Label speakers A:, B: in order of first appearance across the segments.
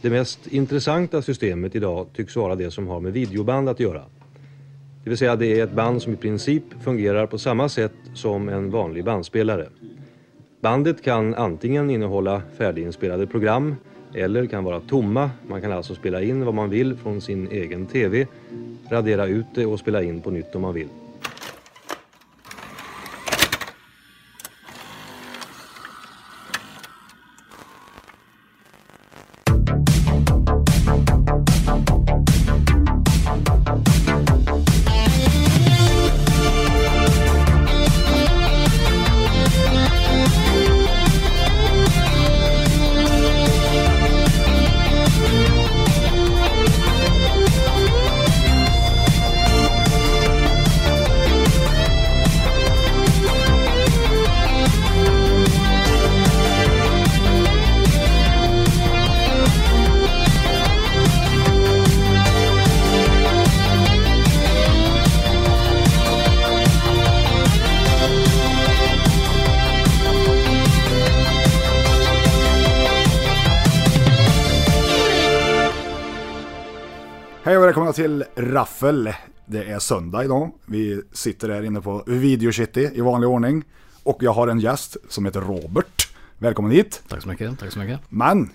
A: Det mest intressanta systemet idag tycks vara det som har med videoband att göra. Det vill säga det är ett band som i princip fungerar på samma sätt som en vanlig bandspelare. Bandet kan antingen innehålla färdiginspelade program eller kan vara tomma. Man kan alltså spela in vad man vill från sin egen TV, radera ut det och spela in på nytt om man vill.
B: Hej och välkomna till Raffel. Det är söndag idag. Vi sitter här inne på Video City i vanlig ordning. Och jag har en gäst som heter Robert. Välkommen hit.
C: Tack så mycket, tack så mycket.
B: Men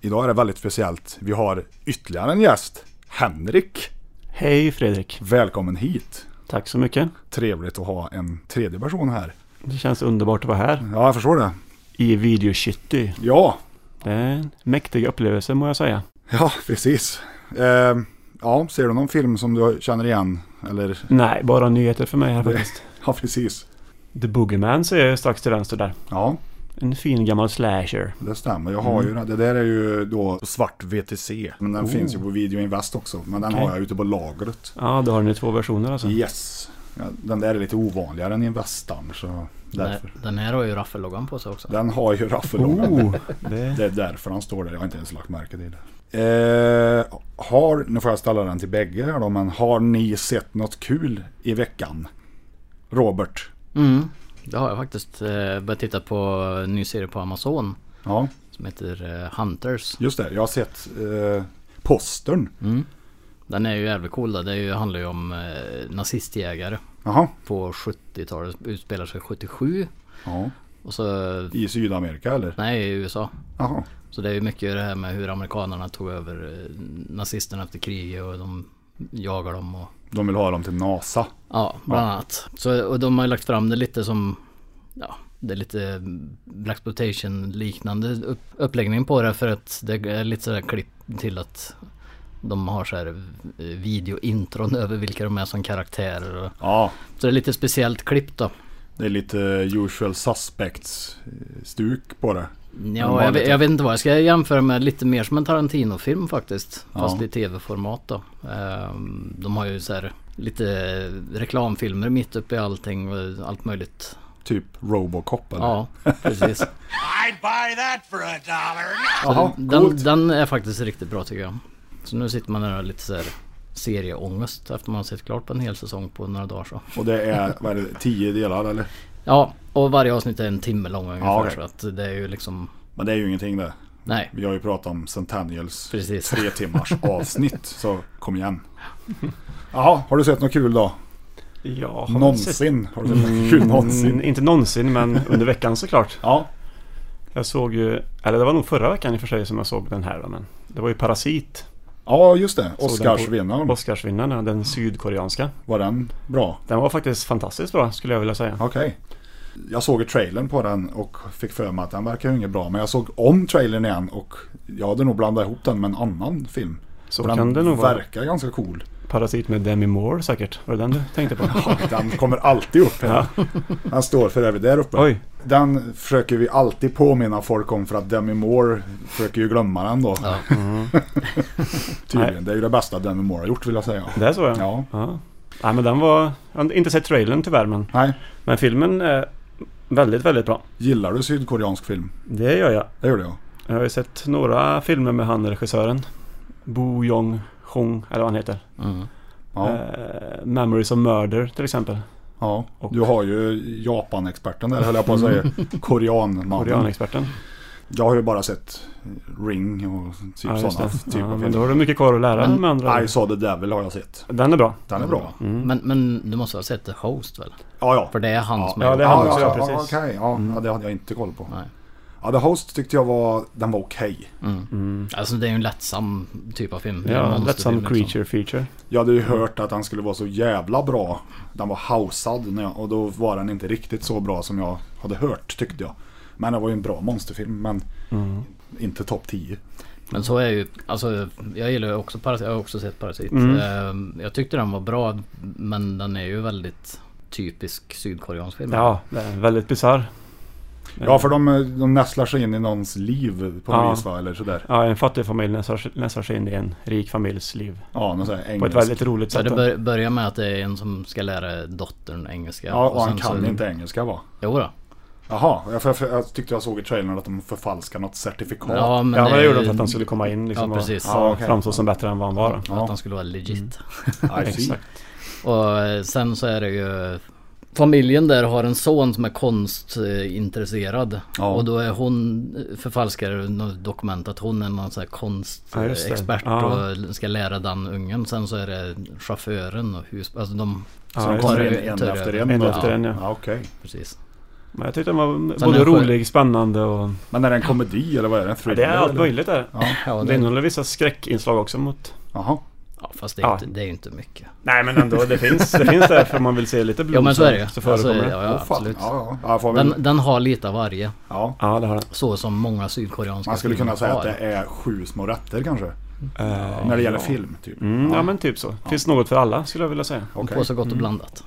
B: idag är det väldigt speciellt. Vi har ytterligare en gäst. Henrik.
D: Hej Fredrik.
B: Välkommen hit.
D: Tack så mycket.
B: Trevligt att ha en tredje person här.
D: Det känns underbart att vara här
B: Ja, jag förstår det.
D: i Video City.
B: Ja,
D: Det är en mäktig upplevelse må jag säga.
B: ja precis. Eh, ja, ser du någon film som du känner igen? Eller,
D: Nej, bara nyheter för mig här faktiskt.
B: ja precis.
D: The Boogeyman ser jag strax till vänster där.
B: Ja,
D: En fin gammal slasher.
B: Det stämmer. Jag har ju den. Det där är ju då Mm. svart VTC. Men den finns ju på Video Invest också. Men den har jag ute på lagret.
D: Ja, då har ni två versioner alltså.
B: Yes. Ja, den där är lite ovanligare än Investan. Så därför.
C: Den- Den här har ju raffelloggan på sig också.
B: Den har ju raffelådan.
D: Oh, det...
B: Det är därför han står där. Jag har inte ens lagt märke till det. Eh, har, nu får jag ställa den till bägge här då, men har ni sett något kul i veckan? Robert?
C: Mm. Det har jag faktiskt eh, börjat titta på en ny serie på Amazon
B: Ja,
C: som heter eh, Hunters.
B: just det. Jag har sett eh, postern.
C: Den är ju jävligt cool då. Det är ju, handlar ju om eh, nazistjägare
B: Jaha.
C: på 70-talet. Utspelar sig 77
B: Ja.
C: och så...
B: I Sydamerika eller?
C: Nej, i USA.
B: Jaha.
C: Så det är ju mycket det här med hur amerikanerna tog över eh, nazisterna efter kriget och de jagar dem och...
B: De vill ha dem till NASA.
C: Ja, bland annat. Så, och de har ju lagt fram det lite som, ja, det är lite Black Exploitation liknande upp, uppläggning på det för att det är lite sådär klipp till att de har så här eh, videointron över vilka de är som karaktärer. Och,
B: Ja,
C: så det är lite speciellt klipp då.
B: det är lite usual suspects eh, stuk på det.
C: Ja, jag, vet- jag vet inte vad jag ska jämföra med. Lite mer som en Tarantino-film faktiskt. Fast
B: Ja.
C: i tv-format då. Ehm, De har ju så här lite reklamfilmer mitt uppe i allting och allt möjligt.
B: Typ Robocop eller?
C: Ja, precis.
E: I'd buy that for a dollar.
B: Jaha,
C: Den,
B: coolt.
C: den är faktiskt riktigt bra tycker jag. Så nu sitter man där och har lite så här serieångest efter man har sett klart på en hel säsong på några dagar så.
B: Och det är, vad är det, tio delar eller?
C: Ja, och varje avsnitt är en timme lång ungefär
B: Ja, okej.
C: så att det är ju liksom...
B: Men det är ju ingenting det.
C: Nej,
B: Vi har ju pratat om Centennials
C: Precis.
B: tre timmars avsnitt, så kom igen. Jaha, har du sett något kul då?
D: Ja, har man sett-
B: Någonsin? Har du sett något kul någonsin?
D: Mm, inte någonsin, men under veckan såklart.
B: Ja,
D: Jag såg ju, eller det var nog förra veckan i och för sig som jag såg den här då, men det var ju Parasit.
B: ja just det.
D: på-
B: Oscarsvinnaren.
D: Oscarsvinnaren, den sydkoreanska.
B: Var den bra?
D: Den var faktiskt fantastiskt bra skulle jag vilja säga.
B: Okej. Jag såg ju trailern på den och fick för mig att den verkar ju inget bra. Men jag såg om trailern igen och jag hade nog blandat ihop den med en annan film.
D: Så
B: den
D: kan det nog vara.
B: verkar ganska cool.
D: Parasit med Demi Moore säkert. Var det den du tänkte på?
B: Den kommer alltid upp här. Den står för övrigt där uppe.
D: Oj.
B: Den försöker vi alltid påminna folk om för att Demi Moore försöker ju glömma den då.
C: Ja.
D: Mm.
B: Tydligen. Det är ju det bästa Demi Moore har gjort vill jag säga.
D: Det är så ja.
B: Ja.
D: ja. Nej men den var... Jag har inte sett trailern tyvärr men...
B: Nej.
D: Men filmen är väldigt, väldigt bra.
B: Gillar du sydkoreansk film?
D: Det gör jag.
B: Det gjorde jag.
D: Jag har ju sett några filmer med han regissören. Bo Jong Hong, eller vad han heter.
C: mm.
B: Ja.
D: Eh, Memories of Murder till exempel.
B: ja.
D: och-
B: Du har ju Japan-experten där höll jag på att säga. Koreanmannen. typ
D: Koreanexperten.
B: Jag har ju bara sett Ring och typ
D: Ja, just
B: sådana.
D: det.
B: Typ
D: ja,
B: av
D: men då
B: filmer.
D: har du mycket kvar att lära dig med andra
B: I saw the devil har jag sett.
D: Den är bra.
B: Den är bra.
C: Men, men du måste ha sett The Host väl?
B: Ja, ja.
C: För det är han som
D: ja,
C: har
D: det
C: gjort
D: är han
B: ja,
D: också,
B: ja,
D: ja,
B: ja,
D: precis. Mm.
B: okej. Ja, ja, det hade jag inte koll på.
C: Nej.
B: Ja, The Host tyckte jag var, den var okej.
C: Alltså det är ju en lättsam typ av film. Det är en
D: Mm. Ja,
C: monsterfilm, liksom.
D: Lättsam creature feature.
B: Jag hade ju
D: Mm.
B: hört att den skulle vara så jävla bra. Den var hausad när jag, och då var den inte riktigt så bra som jag hade hört tyckte jag. Men det var ju en bra monsterfilm men inte topp 10.
C: Men så är ju, alltså jag gillar ju också Parasit, jag har också sett Parasit.
D: Mm.
C: Eh, Jag tyckte den var bra men den är ju väldigt typisk sydkoreansk film.
D: Ja, det är väldigt bisarr.
B: Ja för de, de nästlar sig in i någons liv på något
D: Ja.
B: vis va eller sådär.
D: Ja, en fattig familj nästar nästar sig in i en rik familjs liv.
B: Ja, någon sån här
D: På ett
B: engelsk.
D: väldigt roligt
C: Så
D: sätt.
C: det bör, börjar med att det är en som ska lära dottern engelska.
B: Ja och han
C: sen
B: kan
C: så,
B: inte engelska va?
C: Jo då.
B: Jaha, jag, för, för, jag tyckte jag såg i trailern att de förfalskar något certifikat.
C: Ja, men
D: ja, men
C: det
D: det
C: är
D: gjorde de
C: ju-
D: för att han skulle komma in liksom,
C: Ja, precis.
D: och
B: Ja, okej.
D: framstå som bättre än vad han var.
C: För att han skulle vara legit.
B: I see.
D: Exakt.
C: Och eh, sen så är det ju Familjen där har en son som är konstintresserad.
B: Ja.
C: Och då är hon förfalskar något dokument att hon är någon sån här
D: Ja, just det.
C: konstexpert
D: Ja.
C: och ska lära den ungen. Sen så är det chauffören och hus... Alltså de...
D: Ja,
B: Så de
D: just
B: kommer
C: det.
B: in en
C: Tur-
B: efter en.
D: En
B: då?
D: efter en, ja.
B: ja okej.
C: Precis.
D: Men jag tyckte den var
C: Sen är
D: både
C: den skön.
D: rolig, spännande och...
B: Men är det en komedi eller vad är det? En thriller?
D: det är allt
B: eller?
D: möjligt där.
C: Ja,
D: Det
C: det,
D: innehåller vissa skräckinslag också mot...
B: Jaha.
C: ja fast det är,
D: Ja.
C: inte, det är ju inte mycket.
D: Nej men ändå, det finns, det finns där för man vill se lite blod.
C: Ja men så är det ju.
D: Så
C: Alltså,
D: förekommer det.
C: ja, ja,
B: Åh, fan.
C: absolut.
B: Ja, ja. ja, får väl,
C: Den, den har lite av varje.
B: ja.
D: Ja, det har den.
C: Så som många sydkoreanska
B: Man skulle
C: filmer
B: kunna säga
C: har.
B: att det är sju små rätter kanske.
D: Eh,
B: när det gäller film. Typ.
D: Mm, ja men typ så. Finns något för alla skulle jag vilja säga.
B: Okej.
C: På så gott och blandat.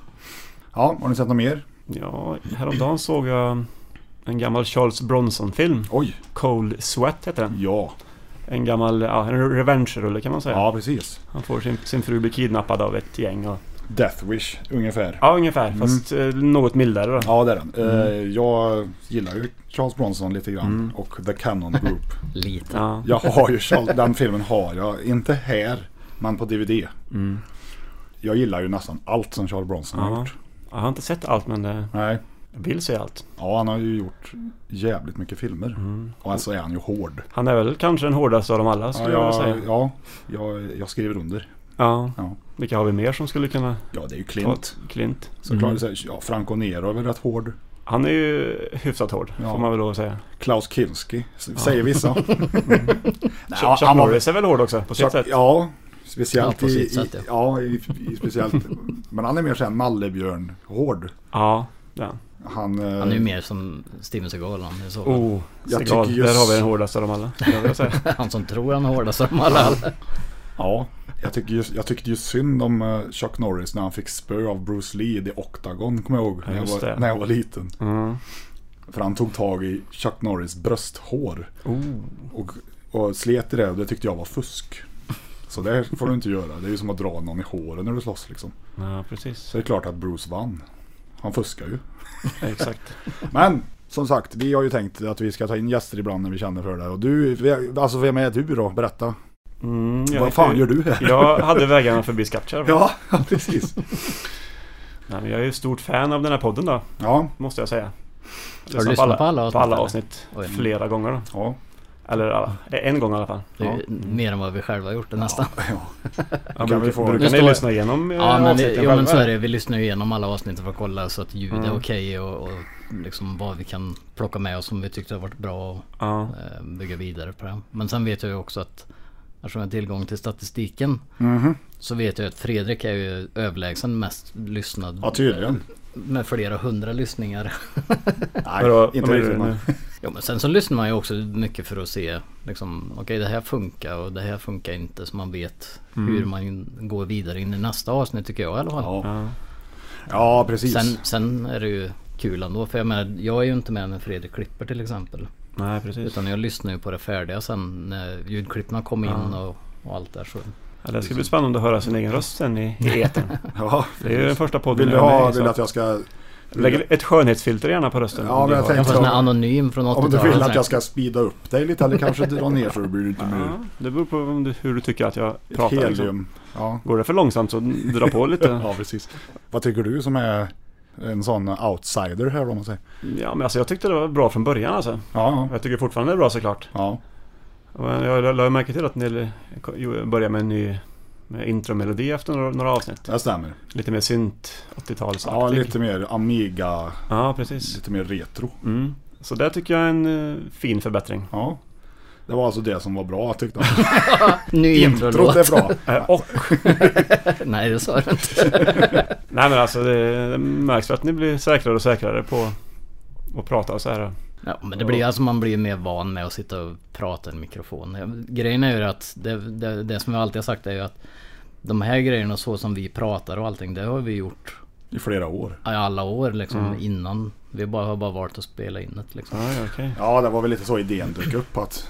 B: Ja, har ni sett något mer?
D: Ja, häromdagen såg jag en gammal Charles Bronson-film.
B: Oj,
D: Cold Sweat heter den.
B: ja.
D: En gammal, ja, en revenge-rulle kan man säga.
B: Ja, precis.
D: Han får sin, sin fru bli kidnappad av ett gäng och...
B: Death Wish, ungefär.
D: Ja, ungefär. Fast eh, något mildare då.
B: Mm. Ja, det är den.
D: Mm.
B: Eh, jag gillar ju Charles Bronson lite grann och The Cannon Group.
C: Lite.
D: Ja.
B: Jag har ju Charles, den filmen har jag. Inte här, men på DVD. Mm. Jag gillar ju nästan allt som Charles Bronson har
D: Ja.
B: gjort.
D: Jag har inte sett allt men eh,
B: Nej.
D: jag vill se allt.
B: Ja, han har ju gjort jävligt mycket filmer. Och alltså är han ju hård.
D: Han är väl kanske den hårdaste av dem alla
B: Ja,
D: skulle jag vilja
B: jag,
D: säga.
B: ja jag, jag skriver under.
D: Ja.
B: Ja.
D: Vilka har vi mer som skulle kunna
B: Ja, det är ju
D: ta
B: Clint.
D: Clint? Mm.
B: Såklart, så här, ja, Franco Nero är väl rätt hård.
D: Han är ju hyfsat hård,
B: Ja.
D: får man väl lov att säga.
B: Klaus Kinski, s- säger vissa.
D: Chuck, Mm. Chuck
B: han var-
D: Norris är väl hård också, på sitt sätt.
B: Ja, speciellt
C: Ja, på
B: i,
C: sitt
B: i,
C: sätt, ja.
B: ja, i, i speciellt. Men han är mer såhär nallebjörn-hård.
D: Ja, ja.
B: Han, eh,
C: Han är ju mer som Steven Seagal han är så.
D: Oh,
B: Jag
D: Seagal.
B: tycker just-
D: Där har vi den hårdaste av dem alla. skulle jag vilja säga.
C: Han som tror han är hårdast av alla.
B: Ja, jag, tycker ju, jag tyckte ju synd om eh, Chuck Norris när han fick spö av Bruce Lee i Octagon, kommer jag ihåg, när jag
D: just
B: var,
D: det.
B: när jag var liten.
D: Mm.
B: För han tog tag i Chuck Norris brösthår. Och, och slet i det och det tyckte jag var fusk. Så det får du inte göra. Det är ju som att dra någon i håren när du slåss liksom.
D: Ja, precis.
B: Så det är klart att Bruce vann. Han fuskar ju.
D: Exakt.
B: Men som sagt, vi har ju tänkt att vi ska ta in gäster ibland när vi känner för det. Och du, ve- alltså vem är du då? Berätta.
D: Mm, jag
B: Vad
D: heter-
B: fan gör du här?
D: Jag hade vägarna förbi Skattkärr. va?
B: Ja, precis.
D: Nej, men Jag är ju stort fan av den här podden då,
B: Ja,
D: måste jag säga. Jag
C: Har du lyssnat på alla avsnitt?
D: på alla
C: eller?
D: avsnitt
C: Oj.
D: flera gånger då.
B: ja.
D: Eller alla, en gång i alla fall.
C: Det är ju mer än vad vi själva har gjort det nästan.
D: Ja,
B: vi
D: brukar,
B: få-
D: brukar
B: Nu
D: ni
C: står-
D: lyssna igenom eh,
C: Ja, men, vi,
D: avsnitten
C: jo, men
D: själva,
C: så är
D: eller?
C: det. Vi lyssnar ju igenom alla avsnitt för att kolla så att ljud är okej och, och liksom vad vi kan plocka med oss som vi tyckte har varit bra och
D: Ja.
C: eh, bygga vidare på det. Men sen vet jag ju också att eftersom jag har tillgång till statistiken
B: Mhm.
C: så vet jag att Fredrik är ju överlägsen mest lyssnad
B: ja tydligen.
C: med flera hundra lyssningar.
B: Nej,
D: Vadå,
B: inte
D: vad menar
B: riktigt.
D: du
B: men-
D: nu?
C: Jo, men sen så lyssnar man ju också mycket för att se liksom, okej det här funkar och det här funkar inte så man vet hur man går vidare in i nästa avsnitt tycker jag i alla fall.
B: Mm. Ja. ja, precis.
C: sen, sen är det ju kul ändå för jag menar jag är ju inte med när Fredrik klipper till exempel.
D: Nej, precis.
C: Utan jag lyssnar ju på det färdiga sen när ljudklipparna kom in och, och allt där så.
D: Ja, det ska bli spännande att höra sin egen röst sen i, i etern.
B: Ja.
D: Det är ju den första podden
B: Vill du
D: jag
B: ha,
D: är med i,
B: vill
D: så
B: du att jag ska...
D: Lägg ett skönhetsfilter gärna på rösten.
B: Ja,
D: om
B: men
D: du
B: jag
D: har-
B: tänkte-
C: Jag får sån här anonym från 80-talet.
B: Om du vill att
C: sådär.
B: jag ska speeda upp dig lite eller kanske dra ner så du blir lite mer...
D: Ja, det beror på om du, hur du tycker att jag pratar. liksom.
B: Helium. Ja.
D: Går det för långsamt så dra på lite.
B: ja, precis. Vad tycker du som är En sån outsider här om man säger.
D: Ja, men alltså jag tyckte det var bra från början alltså.
B: Ja, ja.
D: Jag tycker fortfarande det är bra såklart.
B: ja.
D: Men jag la- la ju märke till att ni jo, började med en ny med intromelodi efter några, några avsnitt.
B: det stämmer.
D: Lite mer synt 80-talsaktig.
B: Ja, lite mer Amiga,
D: Ja, precis.
B: lite mer retro.
D: Mm. Så där tycker jag är en eh, fin förbättring.
B: Ja. Det var alltså det som var bra tyckte jag.
C: Ny
B: Introt
C: introlåt.
B: är bra.
D: Eh, Och,
C: Nej, det sa jag inte.
D: nej men alltså det, det märks väl att ni blir säkrare och säkrare på att prata och så här.
C: Ja, men det blir alltså man blir mer van med att sitta och prata i en mikrofon. Jag- Grejen är ju att det, det, det som jag alltid har sagt är ju att de här grejerna så som vi pratar och allting det har vi gjort
B: I flera år.
C: i alla år liksom innan. Vi bara, har bara valt att spela in det liksom.
D: Ja, ja, okej.
B: Ja, det var väl lite så idén dök upp att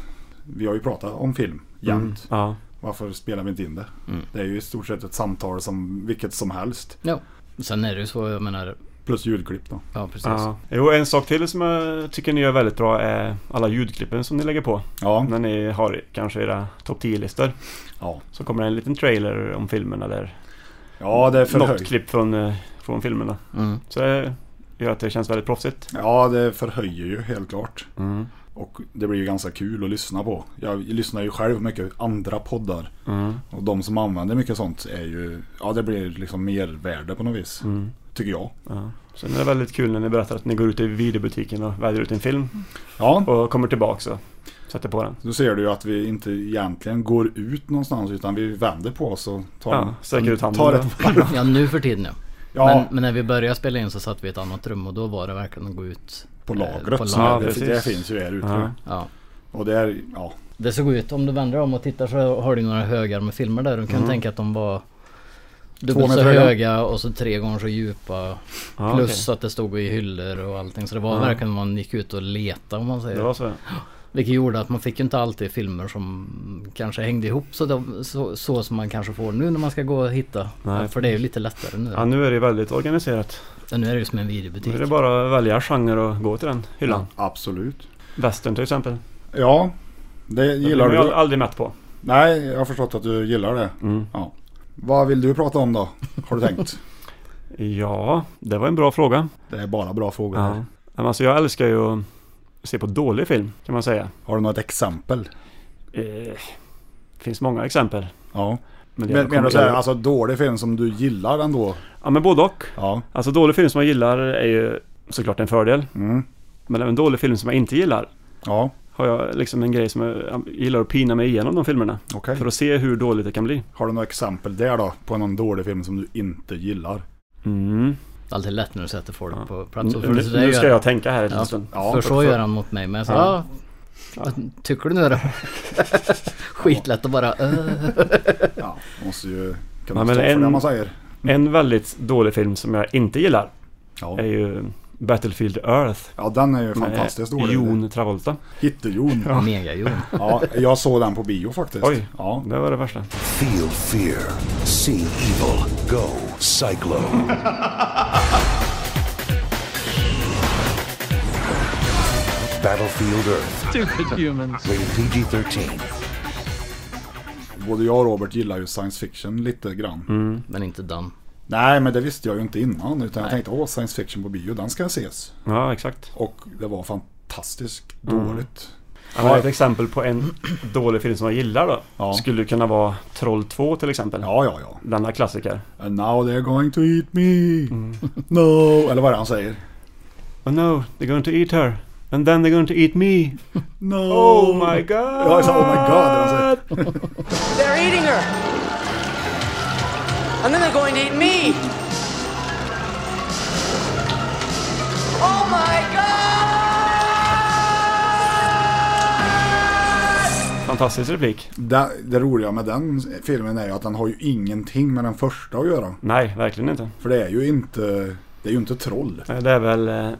B: vi har ju pratat om film jämt.
D: Ja.
B: Varför spelar vi inte in det?
D: Mm.
B: Det är ju i stort sett ett samtal som vilket som helst.
C: Ja. Sen är det ju så, jag menar,
B: Plus ljudklipp då.
C: ja precis.
D: ja. Jo, en sak till som jag tycker ni gör väldigt bra är alla ljudklippen som ni lägger på.
B: Ja,
D: När ni har kanske era topp 10-listor.
B: ja.
D: Så kommer det en liten trailer om filmen eller
B: ja det är
D: något
B: förhöj...
D: klipp från, eh, från filmerna.
C: Mm.
D: Så det gör att det känns väldigt proffsigt.
B: ja, det förhöjer ju helt klart. Och det blir ju ganska kul att lyssna på. Jag lyssnar ju själv mycket andra poddar. Och de som använder mycket sånt är ju... Ja, det blir liksom mer värde på något vis. Tycker jag.
D: Ja. Sen är det väldigt kul när ni berättar att ni går ut i videobutiken och väljer ut en film
B: Ja,
D: och kommer tillbaka och sätter på den.
B: Då ser du ju att vi inte egentligen går ut någonstans utan vi vänder på oss och tar,
D: Ja, sträcker ut handen.
B: tar ett varv.
C: Ja nu för tiden ja.
B: Ja.
C: Men, men när vi började spela in så satt vi i ett annat rum och då var det verkligen att gå ut.
B: På
C: eh,
B: lagret.
C: På
B: som
D: Ja,
B: är-
C: lagret.
B: det,
D: precis.
B: det finns ju här ute.
D: Ja.
C: Ja.
B: Och det är, ja.
C: Det såg ut, om du vänder om och tittar så har du några högar med filmer där. Du
D: Mm.
C: kan tänka att de var dubbelt så
B: meter höga.
C: höga och så tre gånger så djupa.
D: Ja,
C: plus att det stod i hyllor och allting. Så det
D: Ah.
C: var verkligen man gick ut och letade om man
D: okej.
C: säger.
D: Det var så?
C: Vilket gjorde att man fick ju inte alltid filmer som kanske hängde ihop så, de, så, så som man kanske får nu när man ska gå och hitta.
D: Nej.
C: För det är ju lite lättare nu.
D: Ja, nu är det väldigt organiserat.
C: Nu är det ju som en
D: Nu
C: videobutik.
D: är det bara att välja genre och gå till den hyllan.
B: Absolut.
D: Western till exempel.
B: Ja, det gillar
D: Den är jag
B: du.
D: aldrig mätt på.
B: Nej, jag har förstått att du gillar det.
D: Mm.
B: Ja. Vad vill du prata om då? Har du tänkt?
D: Ja, det var en bra fråga.
B: Det är bara bra frågor.
D: Ja.
B: här.
D: Men Alltså, jag älskar ju att se på dålig film, kan man säga.
B: Har du något exempel?
D: Eh, finns många exempel.
B: Ja.
D: Men det
B: Men,
D: kommer-
B: menar du så här, alltså dålig film som du gillar ändå?
D: Ja, men både och.
B: Ja.
D: Alltså dålig film som jag gillar är ju såklart en fördel.
B: Mm.
D: Men även dålig film som jag inte gillar
B: Ja,
D: har jag liksom en grej som jag gillar att pina mig igenom de filmerna.
B: okej.
D: För att se hur dåligt det kan bli.
B: Har du något exempel där då? På någon dålig film som du inte gillar?
D: Mm.
C: Det är alltid lätt när du sätter folk
D: Ja.
C: på
D: Nu,
C: plats. Och för det- så det
D: nu
C: gör-
D: ska jag tänka här en liten
C: Ja.
D: stund.
B: Ja,
C: för
B: för-
C: så
B: för-
C: gör han Alltså, mot mig. Men jag sa,
D: Ja.
C: ja. vad tycker du nu då? Skitlätt att bara, eh.
B: Ja, måste ju kunna
D: Ja, men
B: stå för
D: en-
B: det man säger.
D: En väldigt dålig film som jag inte gillar
B: Ja.
D: är ju Battlefield Earth.
B: ja, den är ju
D: med
B: fantastiskt dålig.
D: Jon Travolta.
B: Hitte-Jon. Ja.
C: mega-Jon.
B: jag såg den på bio faktiskt.
D: Oj,
B: Ja.
D: det var det värsta.
F: Feel fear. See evil. Go Cyclo. Battlefield Earth.
G: Stupid humans.
F: Rated PG-13.
B: Både jag och Robert gillar ju science fiction lite grann.
D: Mm.
C: Men inte Dan.
B: Nej, men det visste jag ju inte innan. Utan jag tänkte, åh, science fiction på bio, den ska ses.
D: Ja, exakt.
B: Och det var fantastiskt
D: Mm.
B: dåligt.
D: Ja, men ett exempel på en dålig film som jag gillar då.
B: Ja.
D: Skulle kunna vara Troll 2 till exempel.
B: Ja, ja, ja.
D: Denna klassiker.
B: And now they're going to eat me.
D: Mm.
B: No. Eller vad är det han säger?
D: Oh no, they're going to eat her. And then they're going to eat me.
B: No.
D: Oh my god!
B: Ja, jag sa, oh my god. Alltså.
H: They're eating her. And then they're going to eat me. Oh my God!
D: Fantastisk replik.
B: Det, det roliga med den filmen är ju att den har ju ingenting med den första att göra.
D: Nej, verkligen inte.
B: För det är ju inte, det är ju inte troll.
D: Nej, Det är väl eh,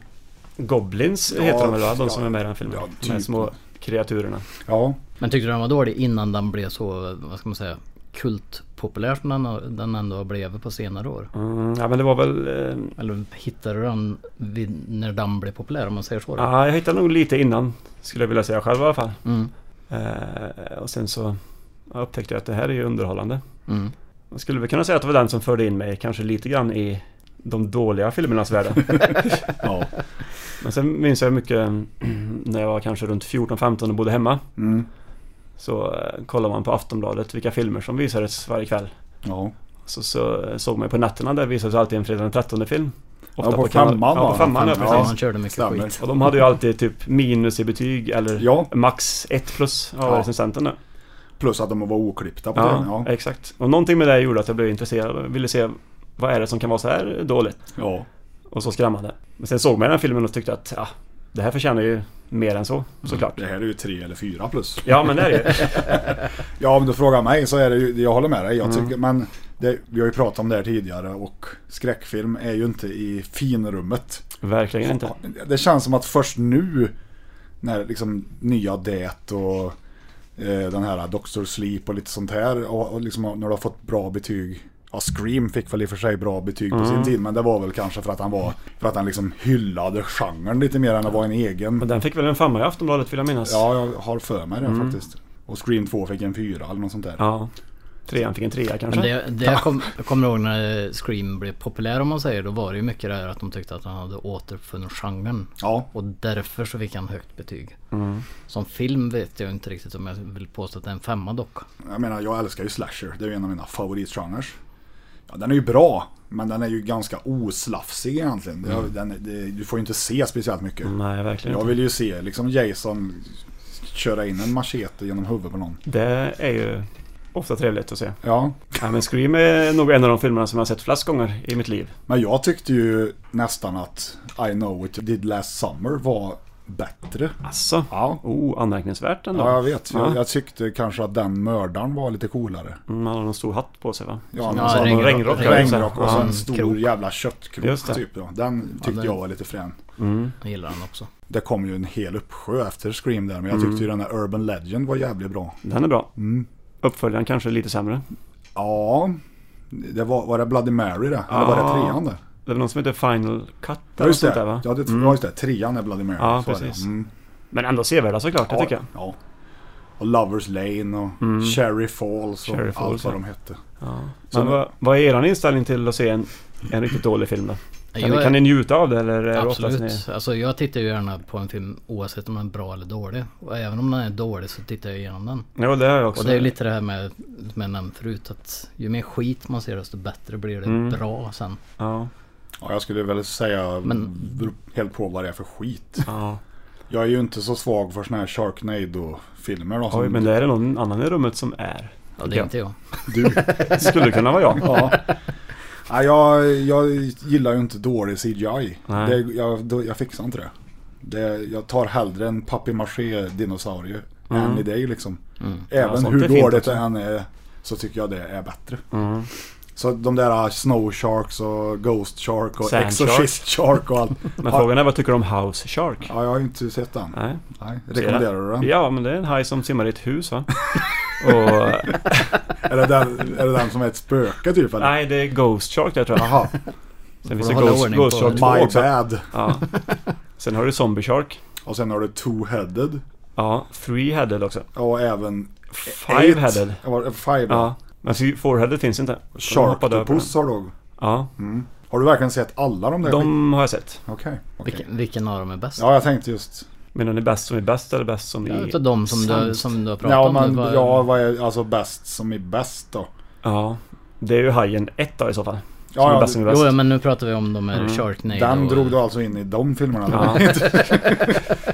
D: Goblins
B: Ja,
D: heter de väl va? De
B: ja,
D: som är med i den filmen.
B: ja,
D: De här
B: typ.
D: små kreaturerna.
B: Ja,
C: Men tyckte du den var dålig innan den blev så, vad ska man säga, kultpopulär som den, har- den ändå har blivit på senare år?
D: Mm, ja men det var väl... eh,
C: Eller hittade du den vid, när den blev populär om man säger så? då?
D: Ja, jag hittade nog lite innan. Skulle jag vilja säga själv i alla fall.
C: Mm,
D: Eh, och sen så ja, upptäckte jag att det här är ju underhållande.
C: Mm.
D: Man skulle väl kunna säga att det var den som förde in mig kanske lite grann i de dåliga filmernas värld.
B: Ja.
D: Men sen minns jag mycket när jag var kanske runt 14-15 och bodde hemma.
B: Mm.
D: Så eh, kollade man på Aftonbladet vilka filmer som visades varje kväll.
B: Ja.
D: Så, så eh, såg man ju på nätterna, där visades alltid en fredag den 13 film.
B: Ja, på
D: kanal-
B: femman,
D: Ja,
B: va?
D: på femman, ja,
B: Ja.
D: precis.
C: Man körde mycket
B: Stämmer.
C: skit.
D: Och de hade ju alltid typ minus i betyg eller
B: Ja.
D: max 1 plus av
B: Ja.
D: recensenten.
B: Plus att de var oklippta på
D: Ja,
B: den. Ja.
D: exakt. Och någonting med det gjorde att jag blev intresserad och ville se vad är det som kan vara så här dåligt
B: ja.
D: och så skrämmande. Men sen såg man den här filmen och tyckte att ja, det här förtjänar ju mer än
B: Mm,
D: så, såklart.
B: Det här är ju tre eller fyra plus.
D: Ja, men det är det ju.
B: Ja, om du frågar mig så är det ju, jag håller med dig.
D: Mm.
B: Jag tycker, men det, vi har ju pratat om det här tidigare och skräckfilm är ju inte i finrummet.
D: Verkligen inte.
B: Det känns som att först nu när liksom nya Det och eh, den här Doctor Sleep och lite sånt här och, och liksom när du har fått bra betyg. Ja, Scream fick väl i och för sig bra betyg på sin tid men det var väl kanske för att han var för att han liksom hyllade genren lite mer än att vara en egen.
D: Men den fick väl en femma i Aftonbladet vill jag minnas.
B: Ja, jag har för mig det faktiskt. Och Scream 2 fick en fyra eller något sånt där.
D: ja. Trean fick en trea kanske.
C: Men det, det jag, kom, jag kommer ihåg när Scream blev populär om man säger. Då var det ju mycket det här att de tyckte att han hade återfunnit genren.
B: Ja,
C: Och därför så fick han högt betyg.
B: Mm.
C: Som film vet jag inte riktigt om jag vill påstå att det är en femma dock.
B: Jag menar, jag älskar ju slasher. Det är ju en av mina favoritgenrer. Ja, den är ju bra, men den är ju ganska oslafsig egentligen. Det- Den, det, du får ju inte se speciellt mycket.
D: Nej, verkligen
B: Jag
D: inte.
B: vill ju se liksom Jason köra in en machete genom huvudet på någon.
D: Det är ju ofta trevligt att se.
B: Ja,
D: Ja, men Scream är nog en av de filmerna som jag har sett flest gånger i mitt liv.
B: men jag tyckte ju nästan att I know what you did last summer var bättre.
D: Alltså.
B: Ja,
D: Oh, anmärkningsvärt ändå.
B: ja jag vet. Jag,
D: Ja.
B: jag tyckte kanske att den mördaren var lite coolare.
D: Mm, Han har en stor hatt på sig va?
B: Ja,
C: Ja,
B: så hade han
C: regnrock.
B: en regnrock och så
D: Ja.
B: en stor
C: krok.
B: jävla köttkrok
D: Just det.
B: typ. Ja. Den tyckte
C: den-
B: jag var lite frän.
C: Jag gillar han också.
B: Det kom ju en hel uppsjö efter Scream där, men jag tyckte ju
D: Mm.
B: den här Urban Legend var jävligt bra.
D: Den är bra.
B: Mm.
D: Uppföljaren kanske är lite sämre.
B: Ja, det var, var det Bloody Mary det? Eller var det
D: Ja.
B: trean det?
D: Det är väl någon som heter Final Cut
B: Ja,
D: eller
B: just
D: sånt
B: det.
D: där va? Mm.
B: Ja, det, ja, just det. Trean är Bloody Mary.
D: Ja,
B: så är det.
D: precis.
B: Mm.
D: Men ändå sevärda såklart, det
B: Ja,
D: tycker jag. Mm.
B: Ja. Och Lovers Lane och Cherry Falls och
D: Cherry
B: allt
D: Falls,
B: vad
D: ja.
B: de hette.
D: Men
B: nu-
D: vad, vad är er inställning till att se en, en riktigt dålig film då? Kan,
C: Jag
D: ni,
C: är-
D: kan ni njuta av det eller? är det oftast
C: Absolut. Alltså jag tittar ju gärna på en film oavsett om den är bra eller dålig. Och även om den är dålig så tittar jag igenom den.
D: Ni, jo, det har jag också.
C: Och det är ju lite det här med, som jag nämnt förut, att ju mer skit man ser desto bättre blir det
B: Mm.
C: bra sen.
D: Ja,
B: Ja, jag skulle väl säga
C: Men-
B: beror helt på vad det är för skit.
D: ja.
B: Jag är ju inte så svag för såna här Sharknado-filmer då.
D: Oj,
B: som
D: men det är det någon annan i rummet som är.
C: Ja, det är
D: Ja.
C: inte jag.
B: Du.
D: Det skulle kunna vara jag.
B: Ja. Nej, jag, jag gillar ju inte dålig CGI.
D: Nej.
B: Det, jag, då, jag fixar inte det. det. Jag tar hellre en papier-maché-dinosaurie än i dig liksom. Även
D: Mm. Ja, sånt
B: hur
D: är fint
B: dåligt
D: också. Mm.
B: det än är så tycker jag det är bättre. Så de där uh, Snow Sharks och Ghost Shark och
D: Sand
B: Exorcist Shark och allt.
D: Men
B: ja,
D: frågan är vad tycker du om House Shark?
B: ja, jag har ju inte sett den.
D: Nej.
B: Nej. Rekommenderar du den?
D: Ja, men det är en haj som simmar i ett hus va? Och,
B: Är, det den? är det den som är ett spöke typ eller?
D: nej, det är Ghost Shark där tror jag.
B: Jaha,
D: Sen finns
C: Får
D: det
C: hålla
D: Ghost,
C: ordning på
D: Ghost Shark
C: det.
D: 2
B: my
D: också.
B: bad.
D: Ja. Sen har du Zombie Shark.
B: Och sen har du Two-Headed.
D: Ja, Three Headed också.
B: Och även
D: Five Headed.
B: Eight. Var det Five.
D: Ja.
B: Ja.
D: Men så Four Headed finns inte. Hoppade över
B: Sharktopus har du.
D: den. Ja,
B: Mm. Har du verkligen sett alla de där? skit-
D: de har jag sett.
B: Okej. okej.
C: Vilken, vilken av dem är bäst?
B: Ja, jag tänkte just...
D: Menar ni bäst som är bäst eller bäst som
C: Ja,
D: är
C: Utav de som du,
D: sämst?
C: som du har pratat
B: Ja,
C: om.
B: men,
C: det var-
B: ja, vad är alltså bäst som är bäst då?
D: Ja. Det är ju Hajen 1 då i så fall. Som
B: Ja,
D: är
B: ja,
D: bäst som är bäst.
C: Jo, ja, men nu pratar vi om de här Sharknado.
B: Mm. Den
C: och-
B: drog du alltså in i de filmerna?
D: Ja.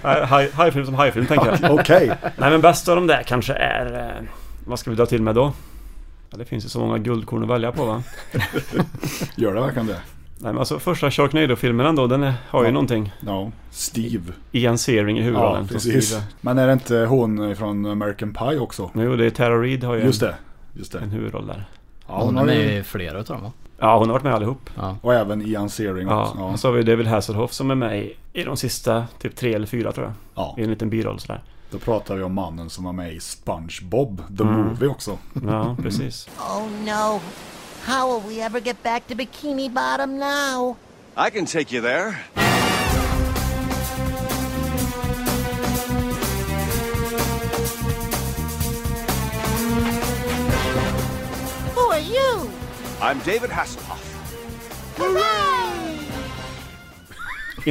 D: Nej, haj- Hajfilm som hajfilm tänker jag.
B: Okej.
D: Nej men bäst av dem där kanske är... eh, Vad ska vi dra till med då? Ja, det finns ju så många guldkorn att välja på va?
B: Gör det verkligen det?
D: Nej men alltså första Sharknado-filmen ändå, den är, har ju
B: Ja.
D: någonting.
B: Ja. Steve.
D: Ian Searing i huvudrollen.
B: Ja,
D: som
B: precis.
D: skriver.
B: Men är det inte hon från American Pie också?
D: Jo, det är Tara Reid har ju
B: Just
D: en,
B: det. Just
D: en
B: det.
D: huvudroll där.
B: Ja,
C: Hon
B: hon
C: är
B: har
C: med
B: ju...
C: i flera utav dem va?
D: Ja, hon har varit med allihop.
B: Och även Ian Searing
D: Ja,
B: också. Ja.
D: Och så har vi David Hasselhoff som är med i, i de sista typ tre eller fyra tror jag.
B: ja.
D: I en liten biroll sådär.
B: Då pratar vi om mannen som var med i SpongeBob, The
D: Mm.
B: Movie också.
D: Ja, precis.
G: Oh no. How will we ever get back to Bikini Bottom now?
E: I can take you there.
G: Who are you?
E: I'm David Hasselhoff.
G: Hooray!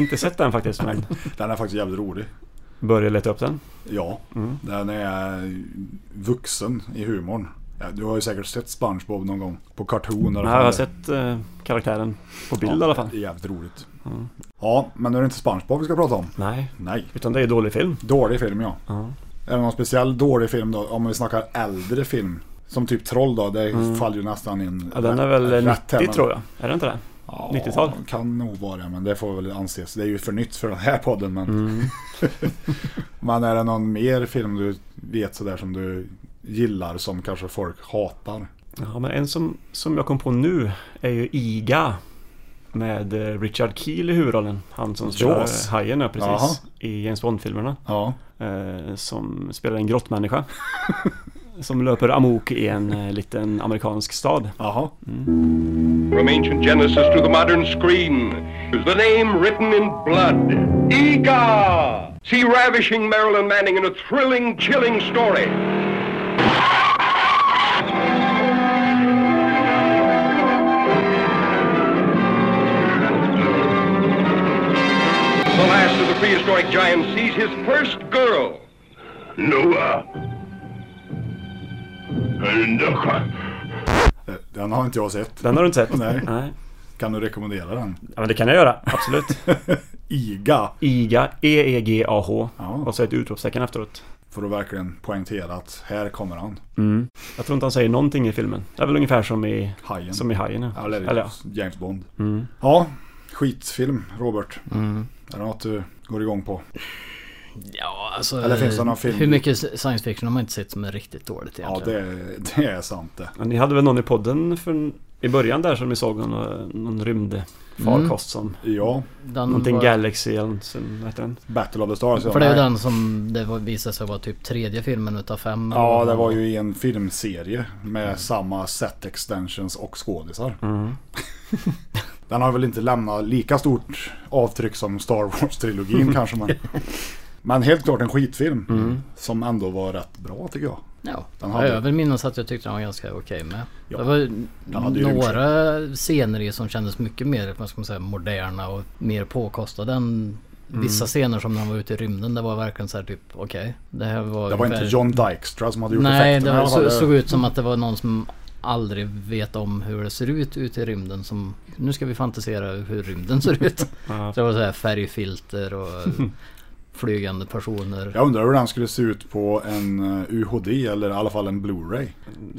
D: Inte sett den faktiskt, men
B: Den är faktiskt jävligt rolig.
D: börjar leta upp den.
B: Ja,
D: Mm.
B: den är vuxen i humorn. Ja, du har ju säkert sett SpongeBob någon gång på kartoner.
D: Nej, jag har sett eh, karaktären på bild i alla fall. Mm.
B: Det är jävligt roligt. Ja, men nu är det inte SpongeBob vi ska prata om.
D: Nej,
B: Nej.
D: utan det är dålig film.
B: Dålig film ja. Är det någon speciell dålig film då? Om vi snackar äldre film. Som typ Troll då, det faller ju nästan in.
D: Mm. Ja, den är väl
B: rätt här,
D: 90
B: men-
D: tror jag. Är det inte det?
B: Ja,
D: 90-tal.
B: Kan nog vara det, men det får väl anses. Det är ju för nytt för den här podden. Men,
D: Mm.
B: men är det någon mer film du vet sådär som du gillar som kanske folk hatar?
D: Ja, men en som, som jag kom på nu är ju IGA. Med eh, Richard Keel i huvudrollen. Han som
B: Jaws.
D: spelar hajen ja, precis.
B: Jaha.
D: I James Bond-filmerna.
B: Ja,
D: Eh, som spelar en grottmänniska. som löper amok i en eh, liten amerikansk stad.
B: jaha.
I: From ancient Genesis to the modern screen, the name written in blood, Ega! See ravishing Marilyn Manning in a thrilling, chilling story. The last of the prehistoric giants sees his first girl. Noah. And uh, Noah.
B: Eh, Den har inte jag sett.
D: Mm. Den har du inte sett?
B: Nej.
D: Nej.
B: Kan du rekommendera den?
D: Ja, men det kan jag göra. Absolut.
B: IGA.
D: IGA, E E-E-G-A-H.
B: Ja.
D: Och så ett utropstecken efteråt.
B: För att verkligen poängtera att här kommer han.
D: Jag tror inte han säger någonting i filmen. Det är väl ungefär som i
B: Hajen.
D: Som i Hajen ja.
B: Eller,
D: Eller ja. Mm.
B: James Bond. Ja, skitfilm Robert. Är det något du går igång på?
C: Ja, alltså,
B: Eller finns det
C: eh,
B: någon film-
C: Hur mycket science fiction har man inte sett som är riktigt dåligt
B: Ja,
C: egentligen?
B: det, är- det är sant det.
D: Men ni hade väl någon i podden för, i början där som ni såg någon, någon rymdfarkost som
B: Ja,
C: den
D: Någonting
C: var-
D: Galaxy eller något sånt, vad heter den?
B: Battle of the Stars. ja.
C: För det är ju
B: Nej.
C: den som det var- visade sig vara typ tredje filmen utav fem.
B: Ja, det var ju i en filmserie med samma set extensions och skådisar. Den har väl inte lämnat lika stort avtryck som Star Wars-trilogin kanske. Men, men helt klart en skitfilm. Som ändå var rätt bra tycker jag.
C: Ja,
B: Den hade-
C: jag vill minnas att jag tyckte den var ganska okej med.
B: Ja,
C: det var ju
B: hade ju
C: några scener i som kändes mycket mer vad ska man säga, moderna och mer påkostade än
B: Mm.
C: vissa scener som när han var ute i rymden. Det var verkligen så här typ okej. Det här var
B: Det var inte
C: ungefär-
B: John Dykstra som hade gjort
C: Nej,
B: effekterna
C: det
B: i
C: var,
B: alla fall.
C: så,
B: Det-
C: såg ut som att det var någon som aldrig vet om hur det ser ut ute i rymden som nu ska vi fantisera hur rymden ser ut.
D: Ja.
C: Så det var så här färgfilter och flygande personer.
B: Jag undrar hur den skulle se ut på en eh, UHD eller i alla fall en Blu-ray.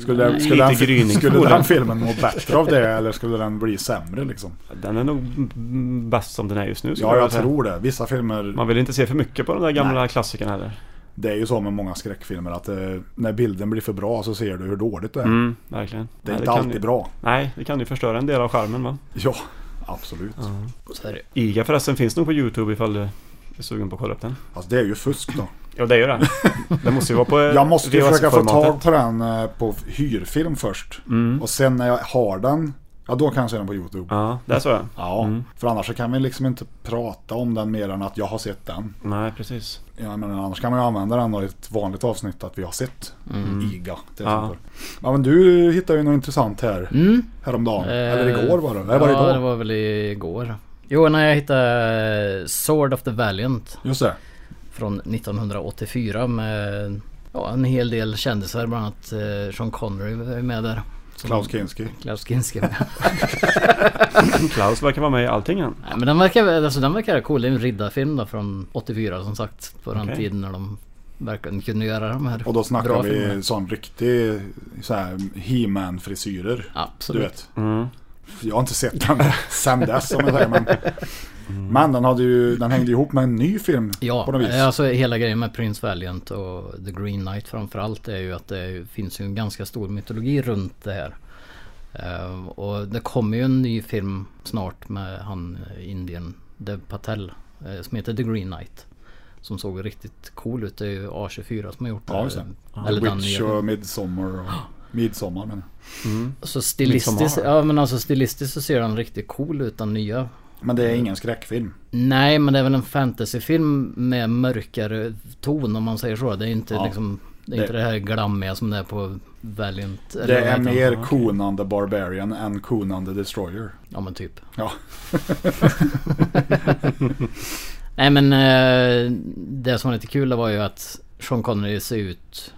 B: Skulle, den- skulle,
D: Lite
B: den, fi-
D: gryning.
B: skulle den filmen må bättre av det eller skulle den bli sämre liksom?
D: Den är nog mm, bäst som den är just nu skulle
B: Ja, jag
D: vilja säga.
B: tror det. Vissa filmer
D: Man vill inte se för mycket på de där gamla klassikerna heller.
B: Det är ju så med många skräckfilmer att eh, när bilden blir för bra så ser du hur dåligt det är.
D: Mm, verkligen.
B: Det är
D: Nej,
B: inte
D: kan
B: alltid
D: ju,
B: bra.
D: Nej, det kan ju förstöra en del av charmen va?
B: Ja, absolut.
C: Så här,
D: IGA förresten finns nog på YouTube ifall du är sugen på att kolla upp den.
B: Alltså det är ju fusk då.
D: Ja, det är ju det. Det måste ju vara på eh,
B: Jag måste ju försöka få
D: VHS-formatet.
B: tag på den eh, på hyrfilm först. Och sen när jag har den, ja då kan jag se den på YouTube.
D: Mm. Ja, Mm. där så jag.
B: Ja, för annars så kan vi liksom inte prata om den mer än att jag har sett den.
D: Nej, precis.
B: Ja, men annars kan man ju använda den då i ett vanligt avsnitt att vi har sett
D: Mm.
B: IGA till exempel. Ja men du hittade ju något intressant här häromdagen. Eller igår var det. Nej, var det
C: Mm. Eh, ja,
B: idag?
C: det var väl igår. Jo, när jag hittade Sword of the Valiant
B: Just det.
C: från 1984 med ja, en hel del kändisar, bland annat eh, Sean Connery är med där. Som-
B: Klaus Kinski.
C: Klaus Kinski. Nej,
D: Klaus verkar vara med i allting han.
C: men den verkar, väl- alltså, den verkar cool. Det är en riddarfilm då från 84 som sagt. På den
D: Okej.
C: tiden när de verkligen kunde göra de här
B: Och då snackar
C: bra
B: vi
C: filmerna.
B: sån riktig så här, He-Man frisyrer. Du
C: Absolut.
B: vet. Jag har inte sett den sen dess om jag säger. Men, men den, hade ju, den hängde ihop med en ny film på något vis.
C: Mm. Ja, alltså hela grejen med Prince Valiant och The Green Knight framförallt är ju att det är- finns ju en ganska stor mytologi runt det här. Eh, och det kommer ju en ny film snart med han eh, Indien Dev Patel eh, som heter The Green Knight. Som såg riktigt cool ut. Det är ju A24 som har gjort
B: Ja, just det.
C: eh, Eller den
B: Witch
C: nya.
B: och Midsommar och Midsommar men.
C: Så Alltså
B: Liksom
C: stilistiskt,
D: Midsommar.
C: ja, men alltså stilistiskt så ser den riktigt cool ut den nya.
B: Men det är ingen skräckfilm.
C: Nej men det är väl en fantasyfilm med mörkare ton om man säger så. Det är inte liksom Det är inte det här glammiga som det är på Valiant. eller
B: Det
C: vad
B: är
C: heter han?
B: mer Conan the Barbarian än Conan the Destroyer.
C: Ja men typ.
B: Ja,
C: Nej men eh, det som var lite kul var ju att Sean Connery ser ut,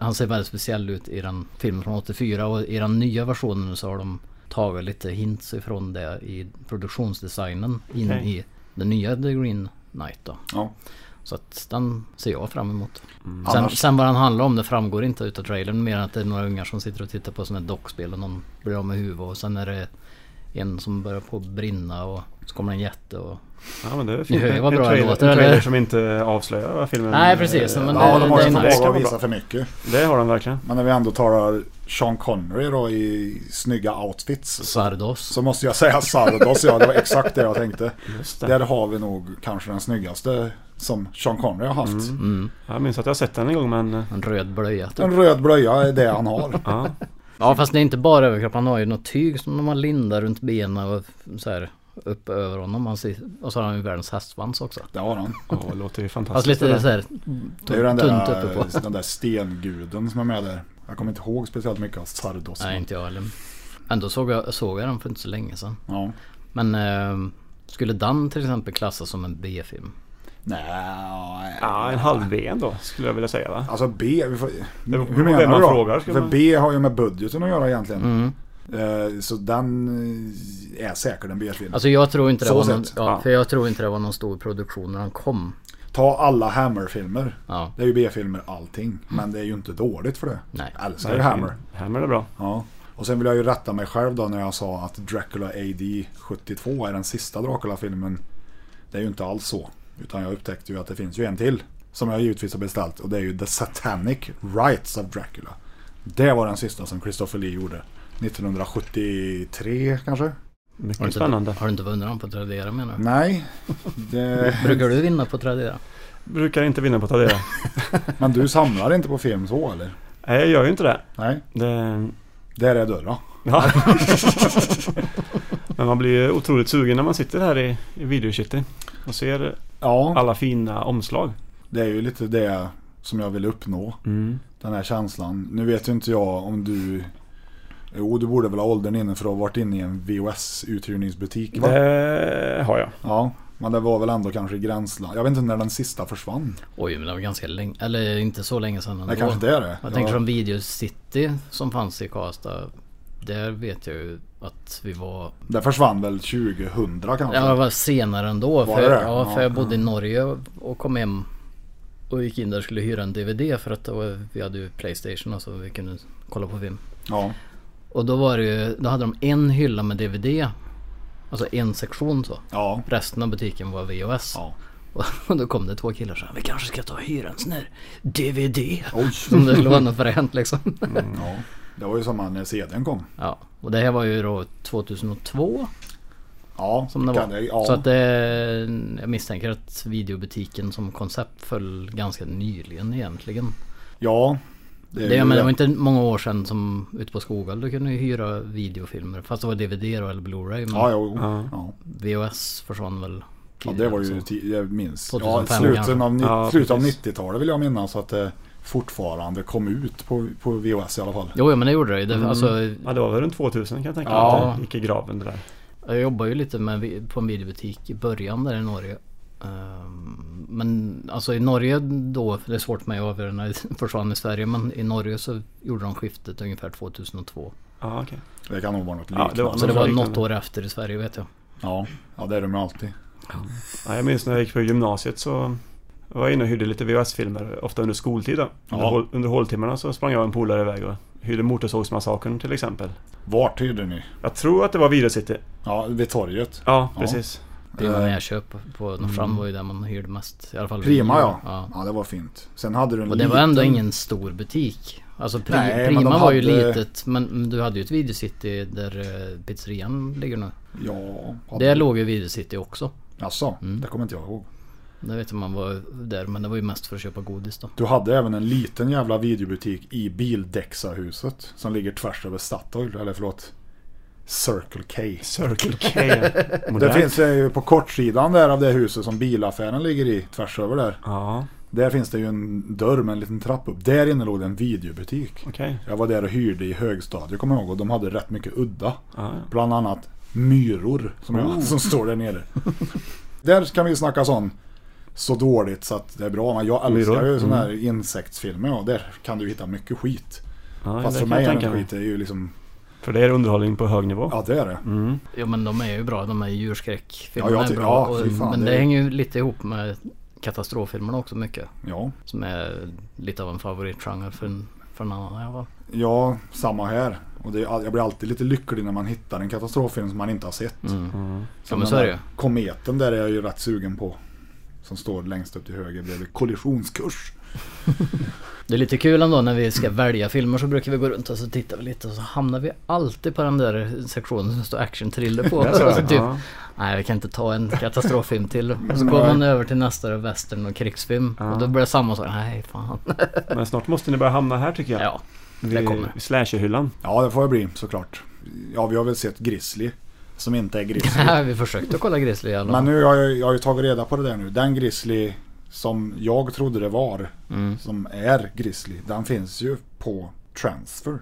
C: han ser väldigt speciell ut i den filmen från 84 och i den nya versionen så har de tagit lite hints ifrån det i produktionsdesignen in
D: Okej.
C: i den nya The Green Knight då.
B: ja.
C: Så att den ser jag fram emot. Sen,
B: Annars-
C: sen vad den handlar om det framgår inte utav trailern mer än att det är några ungar som sitter och tittar på sådana här dockspel och någon blir av med huvudet och sen är det en som börjar på att brinna och så kommer en jätte och
D: Ja men det är fint.
C: hör ju vad
D: En
C: bra det
D: trailer,
C: låter,
D: en trailer
C: eller?
D: som inte avslöjar vad filmen
C: Nej, precis, men
D: det,
C: det-
B: ja de har
C: det
B: ju
C: är
B: fått
C: nice.
B: våga
D: ska vara
B: visa
D: bra.
B: för mycket.
D: det har de verkligen.
B: Men när vi ändå talar Sean Connery då i snygga outfits.
C: Sardos.
B: Så måste jag säga Sardos, ja det var exakt det jag tänkte.
D: Just
B: Där
D: det.
B: har vi nog kanske den snyggaste som Sean Connery har haft.
C: Mm.
D: Jag minns att jag har sett den en gång men... eh,
C: En röd blöja typ.
B: En röd blöja är det han har.
D: Ja,
C: Ja fast det är inte bara överkropp, han har ju något tyg som man lindar runt benen och så här upp över honom. Han ser, och så har han ju världens hästsvans också.
B: Det har han.
D: Åh, det låter ju
C: Fast
D: fantastiskt.
C: lite
D: det
C: så
D: där.
C: här
B: Det är ju den
C: tunt
B: där, eh, liksom,
C: uppe på.
B: den där stenguden som är med där. Jag kommer inte ihåg speciellt mycket av Sardos.
C: Nej inte jag heller. Ändå såg jag, såg jag den för inte så länge sedan.
B: Ja.
C: Men eh, skulle Dan till exempel klassas som en B-film?
B: Nej.
D: Ja, en halv B ändå skulle jag vilja säga va?
B: Alltså B, vi får,
D: beror på
B: hur menar
D: vem man
B: du då?
D: frågar, ska
B: För
D: man-
B: B har ju med budgeten att göra egentligen.
C: Mm.
B: Eh, så den eh, är säkert en B-film.
C: Alltså jag tror inte det
B: Så
C: var någon,
B: sett,
C: ja,
D: ja.
C: för jag tror inte det var någon stor produktion när han kom.
B: Ta alla Hammer-filmer.
C: Ja.
B: Det är ju B-filmer allting. Men det är ju inte dåligt för det.
C: Nej.
B: Jag älskar ju Hammer.
D: Hammer är bra.
B: Ja. Och sen vill jag ju rätta mig själv då när jag sa att Dracula AD 72 är den sista Dracula-filmen. Det är ju inte alls så. Utan jag upptäckte ju att det finns ju en till. Som jag givetvis har beställt och det är ju The Satanic Rites of Dracula. Det var den sista som Christopher Lee gjorde. 1973 kanske?
C: Har du
D: Mycket
C: inte,
D: spännande.
C: Har du inte vunnit den på Tradera menar du?
B: Nej. Det...
C: Brukar du vinna på Tradera?
D: Brukar inte vinna på Tradera.
B: Men du samlar inte på film så eller?
D: Nej, jag gör ju inte det.
B: Nej.
D: det...
B: Där är dörren.
D: Ja. Men man blir ju otroligt sugen när man sitter här i, i Videocity och ser
B: Ja,
D: alla fina omslag.
B: det är ju lite det som jag vill uppnå.
C: Mm.
B: Den här känslan. Nu vet ju inte jag om du... Jo, du borde väl ha åldern inne för att ha varit inne i en VHS-uthyrningsbutik va?
D: Det har jag.
B: Ja, men det var väl ändå kanske i gränsland. Jag vet inte när den sista försvann.
C: Oj men det var ganska länge, eller inte så länge sedan ändå.
B: Det kanske inte är det.
C: Jag
B: Ja.
C: tänker som Video City som fanns i Karlstad. Där vet jag ju att vi var...
B: Det försvann väl 2000 kanske?
C: Ja, det var senare ändå.
B: Var
C: För,
B: det det?
C: ja, för
B: Ja.
C: jag bodde i Norge och kom hem och gick in där och skulle hyra en DVD för att det var, vi hade ju Playstation och så vi kunde kolla på film.
B: ja.
C: Och då var det ju, då hade de en hylla med DVD. Alltså en sektion så.
B: ja.
C: Resten av butiken var VHS.
B: Ja.
C: Och då kom det två killar och sa vi kanske ska ta och hyra en sån här DVD.
B: Oj.
C: Som det skulle vara något fränt liksom.
B: ja. Det var ju samma när CDn kom.
C: Ja, och det här var ju då 2002
B: Ja,
C: som det
B: kan
C: var.
B: det- ja.
C: Så att det, jag misstänker att videobutiken som koncept föll ganska nyligen egentligen.
B: ja. Det är
C: Det,
B: ju
C: men det
B: det.
C: var inte många år sedan som ute på Skoghall du kunde ju hyra videofilmer. Fast det var DVD då, eller Blu-ray. Men
B: Ja, jo. Ja.
C: VHS försvann väl
B: Ja, det
C: tidigare
B: var ju,
C: också.
B: ti- jag minns. Ja,
C: 2005
B: slutet
C: kanske.
B: av, ni-
D: Ja,
B: slutet av
D: precis.
B: 90-talet vill jag minnas att det fortfarande kom ut på, på VHS i alla fall.
C: Jo, ja, men det gjorde det ju. Det-
B: Mm.
C: Alltså,
D: Ja, det var väl runt 2000 kan jag tänka mig
B: Ja.
D: att det gick i graven det där.
C: Jag jobbade ju lite med, vi- på en videobutik i början där i Norge. Ehm, Men alltså i Norge då, för det är svårt för mig att avgöra när det försvann i Sverige. Men i Norge så gjorde de skiftet ungefär 2002.
D: Ja, okej.
B: Det kan nog vara något
D: Ja, det var-
B: liknande. Ja,
C: Så det var
D: liknande.
C: något år efter i Sverige vet jag.
B: ja, det är de ju alltid.
D: Ja, jag minns när jag gick på gymnasiet så var jag inne och hyrde lite VHS-filmer, ofta under skoltiden. Under,
B: Ja.
D: hål, under håltimmarna så sprang jag och en polare iväg och hyrde Motorsågsmassakern till exempel.
B: Vart hyrde ni?
D: Jag tror att det var Video City.
B: Ja, vid torget.
D: Ja,
B: Ja.
D: precis.
C: Det
B: Eh.
C: var när jag köp på Norrfram fram var ju där man hyrde mest. I alla fall
B: Mm. Prima ja.
C: ja.
B: ja. det var fint. Sen hade du en
C: Och det var ändå
B: liten-
C: ingen stor butik. Alltså pri,
B: Nej, men de
C: Prima var ju
B: hade-
C: litet men du hade ju ett videocity där eh, pizzerian ligger nu.
B: Ja, hade...
C: Där låg ju videocity också.
B: Jaså,
C: Mm.
B: det kommer inte jag ihåg.
C: Det vet jag man var där men det var ju mest för att köpa godis då.
B: Du hade även en liten jävla videobutik i Bildexahuset som ligger tvärs över Statoil, eller förlåt Circle K.
D: Circle K.
B: Det
D: Modernt.
B: finns eh, ju på kortsidan där av det huset som bilaffären ligger i, tvärs över där.
D: Ja.
B: Där finns det ju en dörr med en liten trapp upp. Där inne låg det en videobutik.
D: Okej.
B: Jag var där och hyrde i högstadiet kommer jag ihåg och de hade rätt mycket udda.
D: Ja, Oh. ja.
B: Bland annat myror som, jag, som står där nere. där kan vi snacka sån så dåligt så att det är bra. Men jag älskar
D: Myror, Mm.
B: ju sådana här insektsfilmer och där kan du hitta mycket skit.
D: Ja,
B: Fast för
D: det kan jag
B: mig är
D: tänka
B: den skit är ju liksom,
D: För det är underhållning på hög nivå.
B: ja det är det.
D: Mm.
C: Jo men de är ju bra, de här djurskräckfilmerna
B: Ja, jag
C: är
B: ty-
C: bra.
B: ja,
C: och,
B: fy fan,
C: men det,
B: det är-
C: hänger ju lite ihop med katastroffilmerna också mycket.
B: Ja.
C: Som är lite av en favoritgenre för en, för en annan i alla fall.
B: ja, samma här. Och det, är all- jag blir alltid lite lycklig när man hittar en katastroffilm som man inte har sett.
C: Mm. Ja
B: Som
C: men så
B: den
C: är det
B: där
C: ju.
B: Kometen där är jag ju rätt sugen på. Som står längst upp till höger bredvid kollisionskurs.
C: Det är lite kul ändå när vi ska välja filmer så brukar vi gå runt och så tittar vi lite och så hamnar vi alltid på den där sektionen som står action thriller på.
D: Det är så,
C: Och så typ,
D: ja.
C: Nej vi kan inte ta en katastroffilm till. Och så går man över till nästa då, western och krigsfilm. Och då blir det samma sak. Nej fan.
D: Men snart måste ni börja hamna här tycker jag.
C: Ja,
D: Vid-
C: kommer.
D: vid Slasherhyllan.
B: Ja, det får jag bli såklart. Ja, vi har väl sett Grizzly. Som inte är Grizzly.
C: vi försökte kolla Grizzly i alla
B: Men
C: fall.
B: nu har jag, jag har ju tagit reda på det där nu. Den Grizzly som jag trodde det var,
D: Mm.
B: som är Grizzly, den finns ju på Transfer.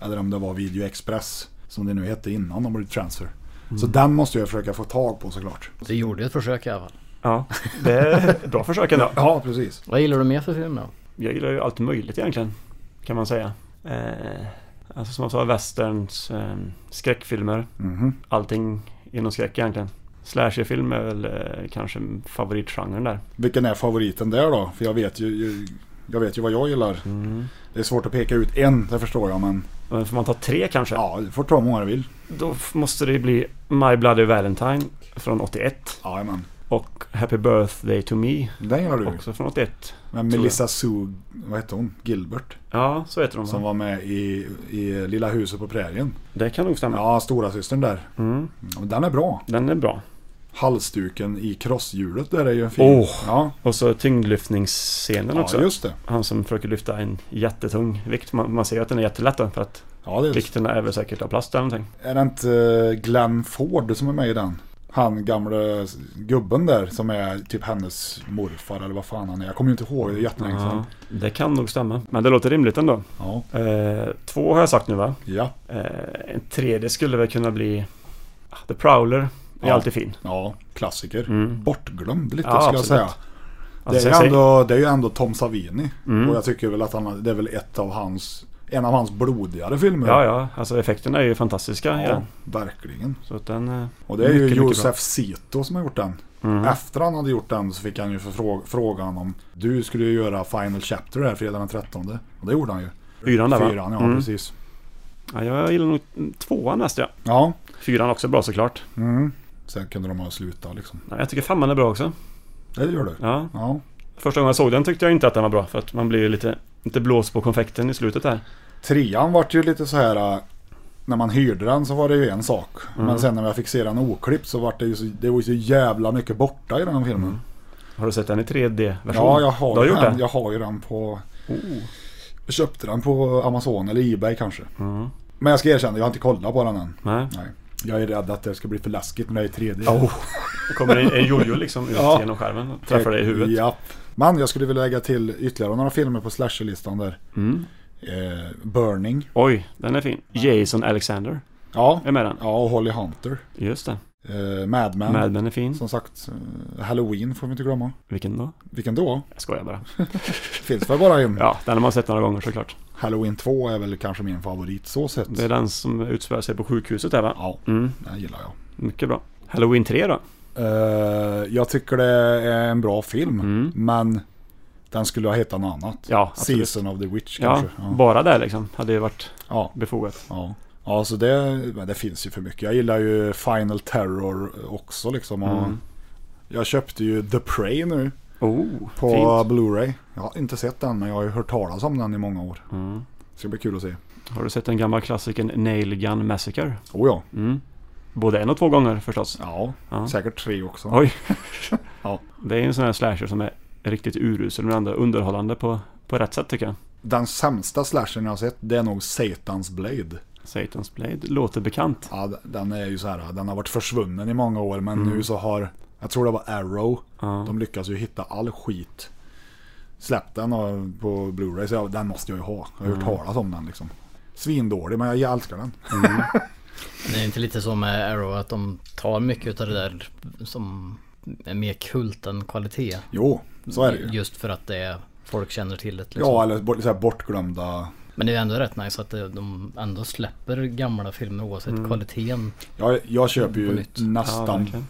B: Eller om det var Video Express, som det nu hette innan de blev Transfer.
D: Mm.
B: Så den måste jag försöka få tag på såklart.
C: Du gjorde ett försök i alla fall.
D: Ja, det är bra försök ändå.
B: Ja, precis.
C: Vad gillar du mer för film då?
D: Jag gillar ju allt möjligt egentligen, kan man säga. Eh, alltså som jag sa, westerns, eh, skräckfilmer,
B: Mhm.
D: allting inom skräck egentligen. Slasherfilm är väl eh, kanske favoritgenren där.
B: Vilken är favoriten där då? För jag vet ju, ju, jag vet ju vad jag gillar.
D: Mm.
B: Det är svårt att peka ut en, det förstår jag. Men
D: Men får man ta tre kanske?
B: ja, du får ta hur många du vill.
D: Då f- måste det ju bli My Bloody Valentine från 81
B: Jajamän.
D: och Happy Birthday to Me
B: Den gillar du.
D: också från 81.
B: Men
D: tror jag.
B: Melissa Sue, vad hette hon? Gilbert.
D: Ja, så heter de.
B: Som
D: va?
B: var med i, i Lilla huset på prärien.
D: Det kan nog stämma.
B: Ja, stora systern där. Mm, Den är bra.
D: Den är bra.
B: Halsduken i crosshjulet där är ju en fin.
D: Åh.
B: Ja,
D: Och så tyngdlyftningsscenen också.
B: ja, just det.
D: Han som försöker lyfta en jättetung vikt. Man, man ser ju att den är jättelätt då, för att
B: Ja, det är,
D: vikterna är väl säkert av plast eller någonting.
B: är det inte eh, Glenn Ford som är med i den? Han gamle gubben där som är typ hennes morfar eller vad fan han är. Jag kommer ju inte ihåg, det är jättelänge sedan.
D: Det kan nog stämma. Men det låter rimligt ändå.
B: Ja.
D: Eh, två har jag sagt nu va?
B: Ja.
D: Eh, en tredje skulle väl kunna bli ah, The Prowler. Är
B: Ja.
D: alltid fin.
B: ja, klassiker. Bortglömd lite
D: Mm. Ja,
B: skulle jag
D: absolut.
B: säga. det,
D: Alltså, jag
B: är ju
D: säger- Mm.
B: ändå, det är ju ändå Tom Savini. Och jag tycker väl att han, det är väl ett av hans, en av hans blodigare filmer.
D: Ja, ja. Alltså effekterna är ju fantastiska i
B: Ja,
D: den.
B: verkligen.
D: Så att den... eh,
B: Och det är ju
D: mycket, mycket bra. Mm.
B: Josef Sito som har gjort den. Efter han hade gjort den så fick han ju förfrå- frågan om du skulle ju göra Final Chapter här fredag den 13. Och det gjorde han ju.
D: Fyran där va?
B: Fyran, ja
D: Mm.
B: precis.
D: Ja, jag gillar nog mm, tvåan mest ja.
B: Ja,
D: Fyran också bra såklart.
B: sen kunde de ha slutat liksom.
D: Nej, jag tycker femman är bra också.
B: Det gör du?
D: Ja.
B: Ja.
D: Första gången jag såg den tyckte jag inte att den var bra. För att man blir ju lite, lite blås på konfekten i slutet här.
B: Trean vart ju lite så här... äh, När man hyrde den så var det ju en sak. Men
D: Mm.
B: sen när jag fick se den oklippt så vart det ju så, det var ju så jävla mycket borta i den här filmen.
D: Har du sett den i 3D-version?
B: Ja, jag har,
D: Mm. du har
B: ju
D: gjort
B: den.
D: det? Oh.
B: Jag har ju den på... Jag köpte den på Amazon eller Ebay kanske. Men jag ska erkänna, jag har inte kollat på den än.
D: Mm. Nej. oh,
B: Nej. Jag är rädd att det ska bli för läskigt när det är 3D.
D: Det kommer en, en jojo liksom ut
B: Ja.
D: genom skärmen och träffar dig i huvudet.
B: Japp. Men jag skulle vilja lägga till ytterligare några filmer på slasherlistan där.
D: Mm.
B: Eh, Burning.
D: Oj, den är fin. Jason Alexander
B: Ja.
D: är med den.
B: Ja, och Holly Hunter.
D: Just det.
B: Eh, Mad Men.
D: Mad Men är fin.
B: Som sagt, eh, Halloween får vi inte glömma.
D: Vilken då?
B: Vilken då?
D: Jag skojar bara.
B: Finns väl bara en.
D: Ja, den har man sett några gånger såklart.
B: Halloween 2 är väl kanske min favorit så sett.
D: Det är den som utspelar sig på sjukhuset där va?
B: Ja,
D: Mm,
B: den gillar jag.
D: mycket bra. Halloween 3 då?
B: Eh, jag tycker det är en bra film, men den skulle ha hetat något annat.
D: Mm. Ja, absolut.
B: Season of the Witch
D: Ja,
B: kanske. Ja,
D: bara där liksom. Hade ju varit
B: ja,
D: befogat.
B: ja. ja så det, men det finns ju för mycket. Jag gillar ju Final Terror också liksom. Och
D: Mm.
B: Jag köpte ju The Prey nu
D: Oh,
B: på
D: fint.
B: Blu-ray. Jag har inte sett den, men jag har ju hört talas om den i många år.
D: Mm.
B: Det ska bli kul att se.
D: Har du sett den gamla klassikern Nail Gun Massacre?
B: Oh ja,
D: Både en och två gånger förstås.
B: ja. säkert tre också.
D: Oj.
B: Ja.
D: Det är en sån här slasher som är riktigt urusel men ändå underhållande på, på rätt sätt tycker jag.
B: Den sämsta slashern jag har sett, det är nog Satans Blade.
D: Satan's Blade låter bekant.
B: Ja, d- den är ju så här, den har varit försvunnen i många år men nu så har, jag tror det var Arrow, de lyckas ju hitta all skit släppt den och- på Blu-ray så jag, den måste jag ju ha. Jag har hört talas om den liksom. Svindålig men jag älskar den.
C: Det är inte lite som med Arrow att de tar mycket av det där som är mer kult än kvalitet.
B: Jo, så är det ju.
C: Just för att det är, folk känner till det liksom.
B: Ja, eller bort, så här bortglömda.
C: Men det är ändå rätt nice att det- de ändå släpper gamla filmer oavsett
B: Mm.
C: kvaliteten.
B: Jag, jag köper
C: På
B: ju
C: nytt.
D: Ja,
B: nästan
D: verkligen.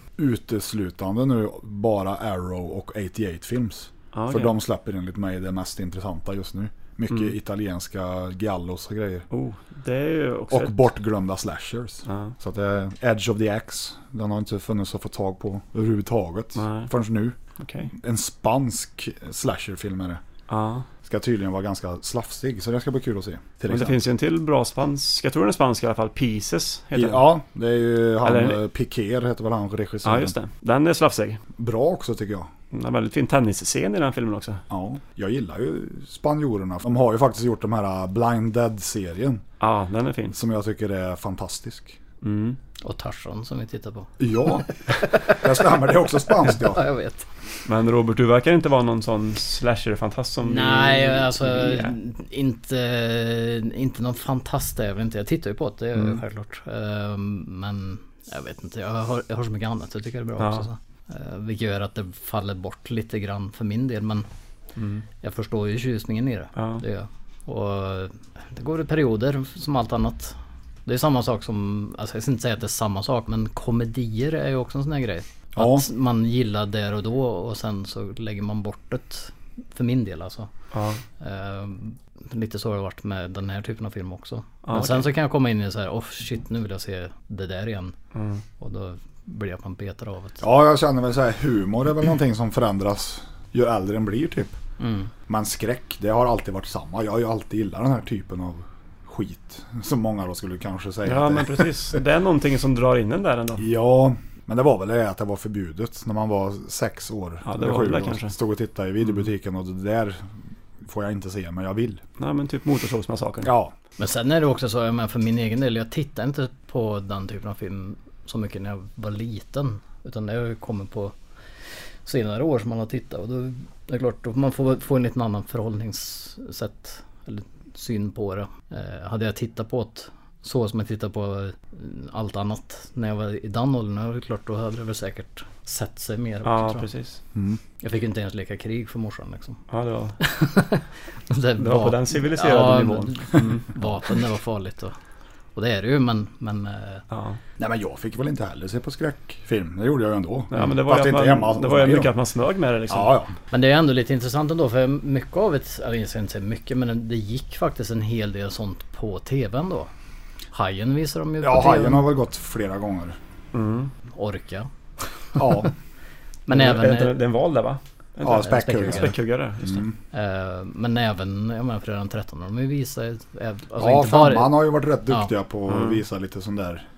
B: uteslutande nu bara Arrow och 88 Films.
D: Ja,
B: För
D: okej. Mm.
B: de släpper enligt mig det mest intressanta just nu. Mycket italienska giallos och grejer.
D: Oh, det är ju också...
B: Och
D: ett-
B: bortglömda slashers.
D: Ja.
B: Så att det, Edge of the Axe, den har inte funnits att få tag på överhuvudtaget.
D: Nej.
B: Förrän nu.
D: Okej.
B: En spansk slasherfilm är det.
D: Ja.
B: Ska tydligen vara ganska slafsig, så det ska bli kul att se. Till
D: Men det
B: exempel.
D: finns ju en till bra spansk. Jag tror den är spansk i alla fall. Pieces heter den.
B: Ja, det är ju han,
D: Eller-
B: Eller... Piquer heter väl han regissören.
D: Ja, just det. Den är slafsig.
B: Bra också tycker jag.
D: Den har väldigt fin tennisscen i den filmen också.
B: Ja, jag gillar ju spanjorerna. De har ju faktiskt gjort de här äh, Blind Dead-serien.
D: Ja, den är fin.
B: Som jag tycker är fantastisk.
C: Och Tarzan som vi tittar på.
B: Ja, det stämmer. Det är också spanskt ja.
C: Ja, jag vet.
D: Men Robert, du verkar inte vara någon sån slasher-fantast som...
C: Nej, alltså
D: Mm. Ja.
C: inte, inte någon fantast är jag väl inte. Jag tittar ju på det, det är ju
D: Mm.
C: självklart. Ehm, Men jag vet inte, jag har, jag har så mycket annat jag tycker det är bra
D: Ja.
C: också. Så. Eh, Vilket gör att det faller bort lite grann för min del. Men jag förstår ju tjusningen i det.
D: Mm. Ja.
C: det gör jag. Och det går i perioder som allt annat. Det är samma sak som, alltså jag ska inte säga att det är samma sak men komedier är ju också en sån här grej.
B: Ja.
C: Att man gillar där och då och sen så lägger man bort det. För min del alltså.
D: Ja.
C: Eh, lite så har det varit med den här typen av film också.
D: Ja,
C: Men sen så kan jag komma in i så här, oh shit nu vill jag se det där igen. Och då blir jag att man betar av det.
B: Ja, jag känner väl så här, humor är väl någonting som förändras ju äldre en blir typ.
D: Mm.
B: Men skräck, det har alltid varit samma. Jag har ju alltid gillat den här typen av skit. Som många då skulle kanske säga.
D: Ja,
B: att det-
D: men precis. Det är någonting som drar in den där ändå.
B: ja, men det var väl det att det var förbjudet när man var sex år.
D: Ja, det
B: eller
D: var
B: sju
D: väl det
B: och
D: kanske. Mm.
B: Stod och tittade i videobutiken och det där får jag inte se, men jag vill.
D: Nej, men typ Motorsågsmassakern.
B: Ja,
C: Men sen är det också så, jag menar, för min egen del, jag tittar inte på den typen av film så mycket när jag var liten. Utan det har ju kommit på senare år som man har tittat. Och då är det klart, då man får få en liten annan förhållningssätt. Eller syn på det. Eh, hade jag tittat på det så som jag tittar på eh, allt annat när jag var i den åldern, då är det klart då hade det väl säkert sett sig mer också,
D: Ja,
C: tror jag.
D: precis.
C: jag fick ju inte ens leka krig för morsan liksom.
D: Ja, det var...
C: Det
D: Det var på
C: vap-
D: den civiliserade nivån.
C: men- mm, Vapen, det var farligt och, och det är det ju men, men eh,
D: Ja.
B: Nej men jag fick väl inte heller se på skräckfilm. Det gjorde jag ju ändå.
D: ja, men det var
B: Fast
D: ju
B: inte
D: att
B: hemma alltså,
D: man,
B: hos
D: det var ju
B: mig
D: mycket
B: då.
D: att man smög med det liksom.
B: Ja, ja.
C: Men det är ändå lite intressant ändå för mycket av ett, eller jag ska inte säga mycket men det gick faktiskt en hel del sånt på tvn då. Hajen visar de ju
B: Ja,
C: på
B: Hajen
C: tvn.
B: har väl gått flera gånger.
C: Orka.
B: Ja,
C: Men
D: Är
C: även,
D: inte det- det är en val där va? Är inte
B: ja Mm,
D: det-
B: späckhuggare.
D: Späckhuggare, just det.
C: eh, men även, jag menar fredag den 13 har de ju visat. eh, Alltså
B: ja,
C: inte bara,
B: Femman har ju varit rätt
C: Ja.
B: duktiga på att
D: Mm.
B: visa lite sån där.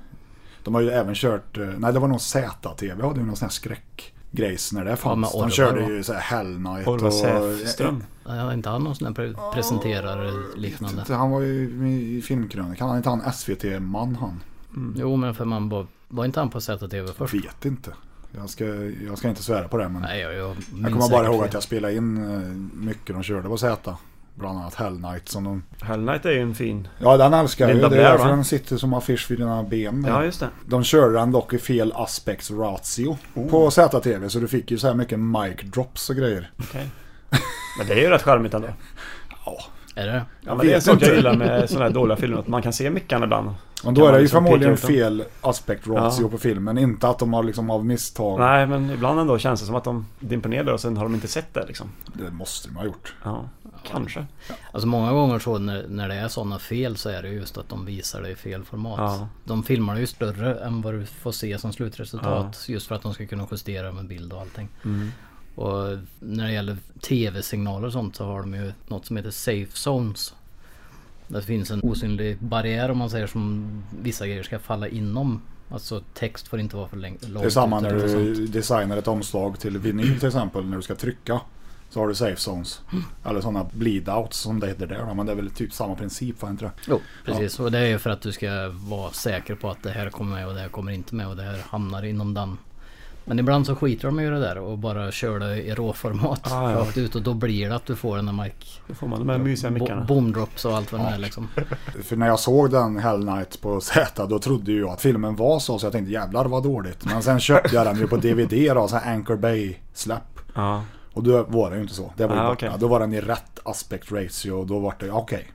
B: De har ju även kört, eh, nej det var nog ZTV hade ju någon sån här skräckgrejs när det
C: med
B: fanns.
C: Orvar,
B: De körde
C: va?
B: ju så här Hell Night
D: Orvar Säfström.
C: Ja, inte han någon sån där pre- presenterare liknande?
B: Han var ju med i filmkrönikan, han är inte han SVT-man han?
C: Jo men för man var, var inte han på ZTV först?
B: Vet inte. Jag ska, jag ska inte svära på det men
C: Nej jag, jag minns
B: jag kommer bara
C: säkert
B: ihåg
C: fel.
B: att jag spelade in eh, mycket de körde på Z. Bland annat Hell Night som de
D: Hell Knight är ju en fin...
B: Ja, den älskar jag ju.
D: Linda
B: Det
D: Blair,
B: är därför
D: va?
B: den sitter som affisch vid dina ben.
D: Ja, just det.
B: De körde den dock i fel aspects ratio
D: Oh.
B: på ZTV, så du fick ju så här mycket mic drops och grejer.
D: Okej. Men det är ju rätt charmigt ändå.
C: Är det?
D: Ja, men det är
B: vet
D: sånt jag
B: inte.
D: gillar med sådana här dåliga filmer, att man kan se mickarna ibland.
B: Men
D: Kan
B: då är
D: man
B: det ju
D: liksom
B: förmodligen
D: peka ut dem.
B: fel aspect ratio
D: Ja.
B: på filmen, inte att de har liksom av misstag.
D: Nej, men ibland ändå känns det som att de dimper ner där och sen har de inte sett det liksom.
B: Det måste de ha gjort.
D: Ja, kanske.
C: Alltså många gånger så när, när det är sådana fel så är det just att de visar det i fel format.
D: Ja.
C: De filmar ju större än vad du får se som slutresultat. Just för att de ska kunna justera med bild och allting.
B: Mm.
C: Och när det gäller tv-signaler och sånt så har de ju något som heter safe zones. Det finns en osynlig barriär om man säger som vissa grejer ska falla inom. Alltså text får inte vara för läng- långt.
B: Det är samma
C: ut
B: när
C: eller något sånt.
B: du designar ett omslag till vinyl till exempel, när du ska trycka. Så har du safe zones. Eller sådana bleed-outs som det heter där. Men det är väl typ samma princip, var inte det?
C: Jo, precis. Och det är ju för att du ska vara säker på att det här kommer med och det här kommer inte med och det här hamnar inom den Men ibland så skiter de ju i det där och bara kör det i råformat
D: Ah, ja.
C: rakt ut och då blir det att du får den här mic
D: Då får man de här mysiga
C: bo-
D: mickarna.
C: boom drops och allt vad det är liksom.
B: För när jag såg den Hell Night på Z då trodde ju jag att filmen var så så jag tänkte jävlar vad dåligt. Men sen köpte jag den ju på DVD då, så här Anchor Bay-släpp.
D: Ja.
B: Och då var det ju inte så. Det var ju
D: Ah,
B: borta.
D: okej.
B: Då var den i rätt aspect ratio och då var det okej.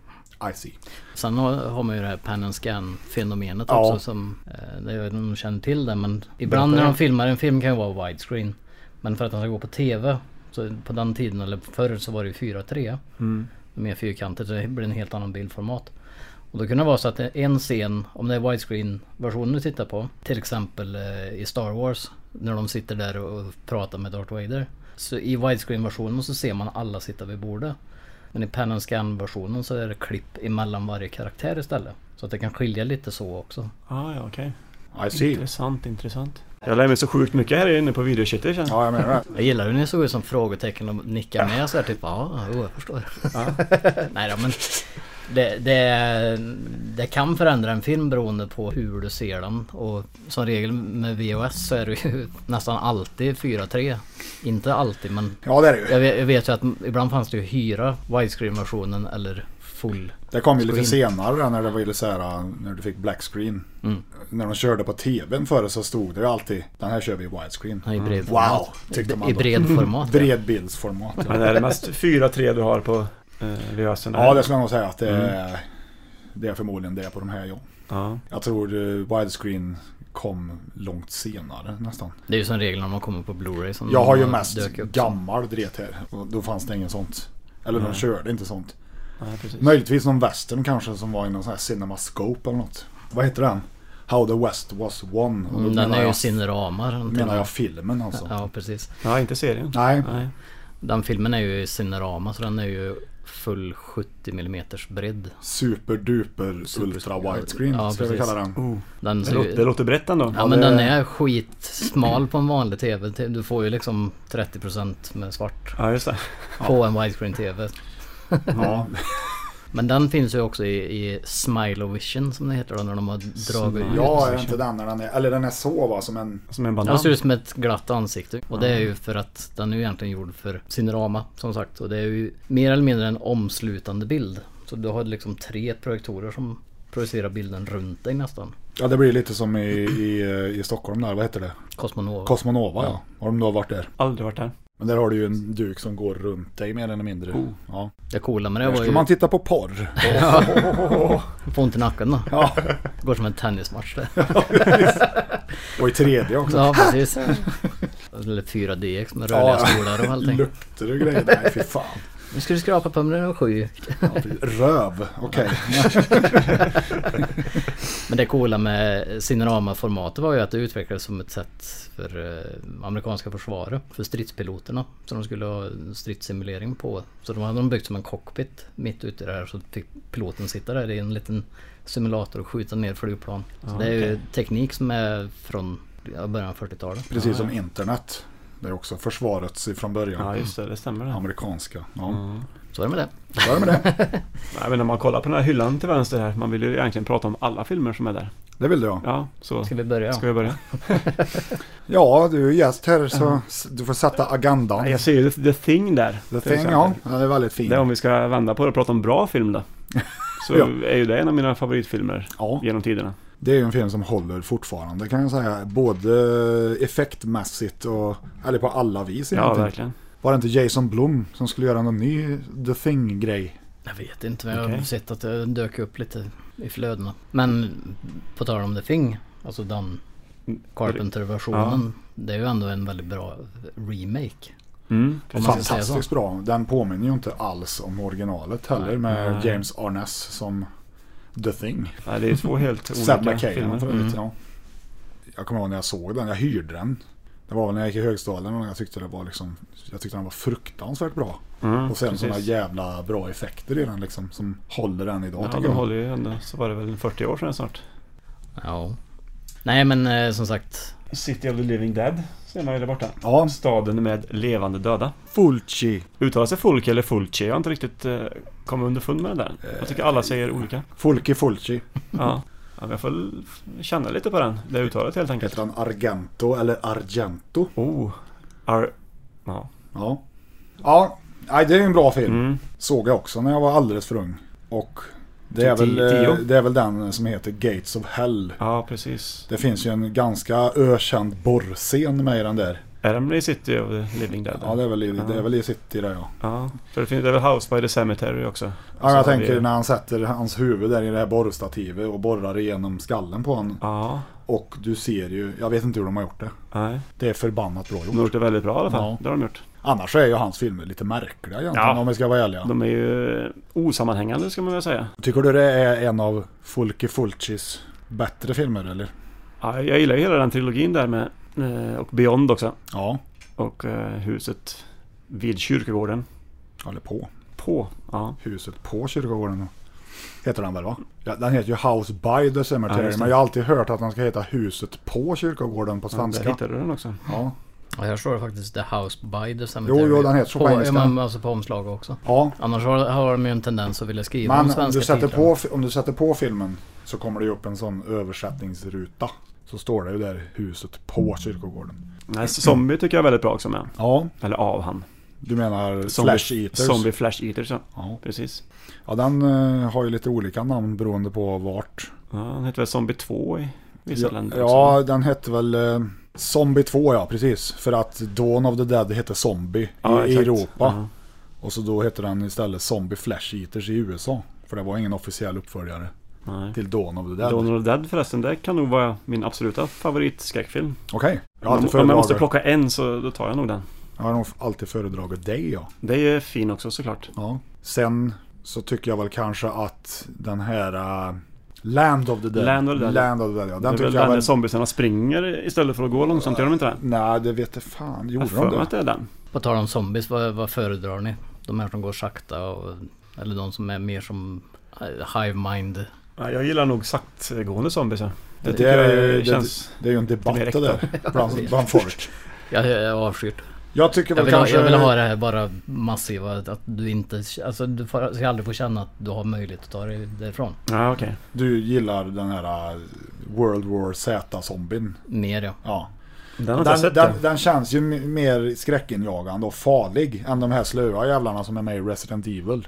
B: I see.
C: Sen har, har man ju det här pan and scan fenomenet
B: Ja.
C: också som... Eh, det- jag vet inte om de känner till det men ibland när de filmar en film kan ju vara widescreen. Men för att den ska gå på TV. Så på den tiden eller förr så var det ju 4.3. Mer fyrkantigt så det blir en helt annan bildformat. Och då kunde det vara så att en scen, om det är widescreen versionen du tittar på. Till exempel eh, i Star Wars. När de sitter där och och pratar med Darth Vader. Så i widescreen versionen så ser man alla sitta vid bordet. Men i Pen and Scan versionen så är det klipp emellan varje karaktär istället. Så att det kan skilja lite så också.
D: Ah, ja, okej.
B: I see.
D: Intressant, intressant. Jag lär mig så sjukt mycket här inne på videokittet känns
B: Ja, jag menar det.
C: Jag gillar hur ni såg ut som frågetecken och nickade med så här typ ja, jo, jag förstår. Nej då men det, det, det kan förändra en film beroende på hur du ser den. Och som regel med VHS så är det ju nästan alltid 4-3. Inte alltid men
B: Ja, det är det ju.
C: jag vet, jag vet ju att ibland fanns det ju hyra widescreen versionen eller full.
B: Det kom ju lite
C: Screen.
B: senare när det var ju så här, när du fick black screen.
C: Mm.
B: När de körde på tvn förr så stod det ju alltid den här kör vi i widescreen.
C: Ja, i bred
B: Mm. Wow,
C: format.
B: tyckte man
C: I
B: då.
C: bred format. ja.
B: Bredbildsformat. ja.
D: Men är det mest 4-3 du har på eh, VHSen?
B: Ja, det skulle jag nog säga att det är, det är förmodligen det på de här. Ja.
D: Ja.
B: Jag tror eh, widescreen kom långt senare nästan.
C: Det är ju som regel när man kommer på Blu-ray som
B: Jag har ju
C: man
B: mest
C: dök upp.
B: gammal dret här. Och då fanns det inget sånt. Eller de körde inte sånt.
D: ja, precis.
B: Möjligtvis någon western kanske som var i någon sån här cinemascope eller något. Vad heter den? How the West was won. Och då
C: Mm, Den
B: menar
C: är ju
B: jag-
C: cineramar. den
B: menar
C: till-
B: jag filmen alltså.
C: Ja precis.
D: Ja, inte serien.
B: Nej.
D: Nej.
C: Den filmen är ju i cinerama så den är ju full 70 mm bredd.
B: Superduper ultra widescreen
C: Ja,
B: ska vi
C: precis.
B: kalla den.
C: Den
D: Det,
C: ser
D: låter, det
C: ju,
D: låter brett ändå.
C: ja men
B: det-
C: den är skitsmal på en vanlig TV. Du får ju liksom 30% med svart
D: Ja, just det.
C: på en widescreen TV.
B: Ja.
C: Men den finns ju också i, i Smilovision som det heter då när de har dragit ut.
B: ja, är det inte den när den är, eller den är så va som en
D: Som en
C: Den
D: banan.
C: ser ut som ett glatt ansikte och det är ju för att den är ju egentligen gjord för cinerama som sagt och det är ju mer eller mindre en omslutande bild. Så du har liksom tre projektorer som projicerar bilden runt dig nästan.
B: Ja, det blir lite som i, i, eh, i Stockholm där, vad heter det?
C: Cosmonova.
B: Cosmonova ja. Har de då varit där?
D: Aldrig varit där.
B: Men där har du ju en duk som går runt dig mer eller mindre.
C: Oh.
B: Ja.
C: det coola med det
B: Där
C: var
B: skulle
C: ju
B: man titta på porr.
C: få ont i nacken då.
B: Ja.
C: Går som en tennismatch det.
B: Och i 3D också.
C: Ja precis. Eller 4DX med rörliga stolar och allting.
B: Luktar du grejer? Nej, fy fan.
C: Nu ska du skrapa på mig och sju.
B: Ja, precis. Röv, okej.
C: Men det coola med Cinerama-formatet var ju att det utvecklades som ett sätt för eh, amerikanska försvaret, för stridspiloterna. Så de skulle ha en stridssimulering på. Så de hade de byggt som en cockpit mitt ute i det här så fick piloten sitta där i en liten simulator och skjuta ner flygplan. Så det är ju teknik som är från ja, början av 40-talet.
B: Precis som internet. Det är också försvarets från början.
D: Ja, just det. Det stämmer det. Mm.
B: Amerikanska. Ja.
C: Så är det med det.
B: Så är det med det.
D: Nej, men om man kollar på den här hyllan till vänster här. Man vill ju egentligen prata om alla filmer som är där.
B: Det vill jag.
D: Ja, så.
C: Ska vi börja?
D: Ska vi börja?
B: Ja, du är gäst här så s- du får sätta agendan.
D: Mm. Jag ser ju The, the Thing där.
B: The
D: till
B: thing,
D: exempel.
B: ja. ja. Det är väldigt fint.
D: Det är om vi ska vända på det och prata om bra film då. Så
B: Ja.
D: är ju det en av mina favoritfilmer
B: Ja.
D: genom tiderna.
B: Det är ju en film som håller fortfarande kan jag säga. Både effektmässigt och... Eller på alla vis
D: Ja,
B: egentligen.
D: verkligen.
B: Var det inte Jason Blum som skulle göra någon ny The Thing-grej?
C: Jag vet inte, men jag har
D: Okej.
C: sett att det dök upp lite i flödena. Men på tal om The Thing, alltså den Carpenter-versionen. Det är ju ändå en väldigt bra remake.
D: Mm.
C: Om man ska säga så.
B: Fantastiskt bra. Den påminner ju inte alls om originalet heller med James Arness som The Thing.
D: Ja, det är två helt
B: Seth
D: olika
B: MacKaye
D: filmer. Mm.
B: för övrigt. Ja. Jag kommer ihåg när jag såg den. Jag hyrde den. Det var väl när jag gick i högstadien och jag tyckte det var liksom... Jag tyckte den var fruktansvärt bra.
D: Mm,
B: och sen
D: precis.
B: sådana jävla bra effekter i den liksom som håller den idag
D: Ja,
B: tycker
D: de
B: jag.
D: håller ju ändå. Så var det väl 40 år sedan snart.
C: Ja. Nej men eh, som sagt.
D: City of the Living Dead ser man ju där borta.
B: Ja,
D: Staden med levande döda.
B: Fulci.
D: Uttalas det Fulke eller Fulci? Jag har inte riktigt eh, kommit underfund med det där. Jag tycker alla säger olika.
B: Fulki Fulci.
D: Ja. Ja, men jag får l- känna lite på den, det uttalet helt enkelt.
B: Heter han Argento eller Argento?
D: Oh, ar... Ja.
B: Ja. Ja, nej, det är en bra film.
D: Mm.
B: Såg jag också när jag var alldeles för ung. Och det är, väl,
D: Tio-
B: eh,
D: tio?
B: det är väl den som heter Gates of Hell.
D: ja, precis.
B: Det finns ju en ganska ökänd borrscen med i den där.
D: Är den i City of the Living Dead?
B: Ja, det är väl i, det är väl i City där ja.
D: Ja, för det, finns, det är väl House by the Cemetery också?
B: Ja,
D: Så har
B: jag tänker
D: vi-
B: när han sätter hans huvud där i det här borrstativet och borrar igenom skallen på honom.
D: Ja,
B: Och du ser ju, jag vet inte hur de har gjort det.
D: nej.
B: Det är förbannat bra
D: De har
B: gjort.
D: gjort det väldigt bra i alla fall.
B: Ja.
D: Det har de gjort.
B: Annars är ju hans filmer lite märkliga egentligen
D: Ja.
B: om vi ska vara ärliga.
D: De är ju eh, osammanhängande ska man väl säga.
B: Tycker du det är en av Fulke Fulcis bättre filmer eller?
D: Ja, jag gillar ju hela den trilogin där med, eh, och Beyond också.
B: Ja,
D: Och eh, huset vid kyrkogården.
B: eller på.
D: På. Ja,
B: Huset på kyrkogården. Heter den väl va? Ja, den heter ju House by the Cemetery.
D: Ja, just det.
B: men jag har alltid hört att den ska heta Huset på kyrkogården på
D: där
B: svenska.
D: hittade du den också.
B: Ja,
C: Ja, här står det faktiskt The House by the Cemetery.
B: Jo, jo, den heter så på
C: på
B: engelska.
C: ja, men Alltså på omslaget också.
B: ja.
C: Annars har, har de ju en tendens att vilja skriva om
B: Men om
C: svenska
B: du, sätter
C: titlar.
B: på, om du sätter på filmen så kommer det ju upp en sån översättningsruta. Så står det ju där Huset på kyrkogården.
D: Nej, Zombie tycker jag är väldigt bra också med.
B: Ja,
D: Eller av han.
B: du menar
D: Zombie,
B: Flash Eaters?
D: Zombie Flash Eaters, ja.
B: Ja.
D: Precis.
B: Ja, den eh, har ju lite olika namn beroende på vart.
D: Ja, han heter väl Zombie 2 i vissa
B: Ja,
D: länder också.
B: ja den hette väl eh, Zombie 2 ja, precis. För att Dawn of the Dead hette Zombie
D: Ja,
B: i, i
D: exakt.
B: Europa.
D: Ja.
B: Och så då hette den istället Zombie Flash Eaters i USA. För det var ingen officiell uppföljare
D: Nej.
B: till Dawn of the Dead.
D: Dawn of the Dead förresten, det kan nog vara min absoluta favoritskräckfilm.
B: Okej. Jag har
D: Om
B: alltid
D: om jag måste
B: föredragit-
D: plocka en så då tar jag nog den.
B: jag har nog alltid föredragit dig ja.
D: Det är fin också såklart.
B: Ja. Sen så tycker jag väl kanske att den här äh, Land of the Dead.
D: Land of the Dead.
B: Land of the Dead ja. Den
D: Den det är väl
B: tycker jag
D: den där
B: väl...
D: zombiesarna springer istället för att gå långsamt, gör de inte det?
B: Nej, det vet jag fan.
D: Jag
B: Gjorde de
D: har för mig
B: det?
D: att det är den.
C: På tal om zombies, vad, vad föredrar ni? De här som går sakta och, eller de som är mer som eh, hive mind.
D: Ja, jag gillar nog saktgående zombies. ja. Det,
B: Det,
D: tycker
B: är,
D: jag
B: det,
D: känns...
B: det är ju en debatt
D: Det är
B: det där. Bland, bland folk.
C: Jag, jag avskyr det.
B: Jag tycker
C: jag
B: väl
C: vill,
B: kanske...
C: ha, jag vill ha det här bara massiva, att du inte, alltså du får, ska aldrig få känna att du har möjlighet att ta dig därifrån.
D: Ja, okej.
B: Du gillar den här äh, World War Z-zombien.
C: Mer ja.
B: Ja.
D: Den har inte jag
B: Den,
D: sett.
B: den,
D: Den,
B: den känns ju m- mer skräckinjagande och farlig än de här slöa jävlarna som är med i Resident Evil.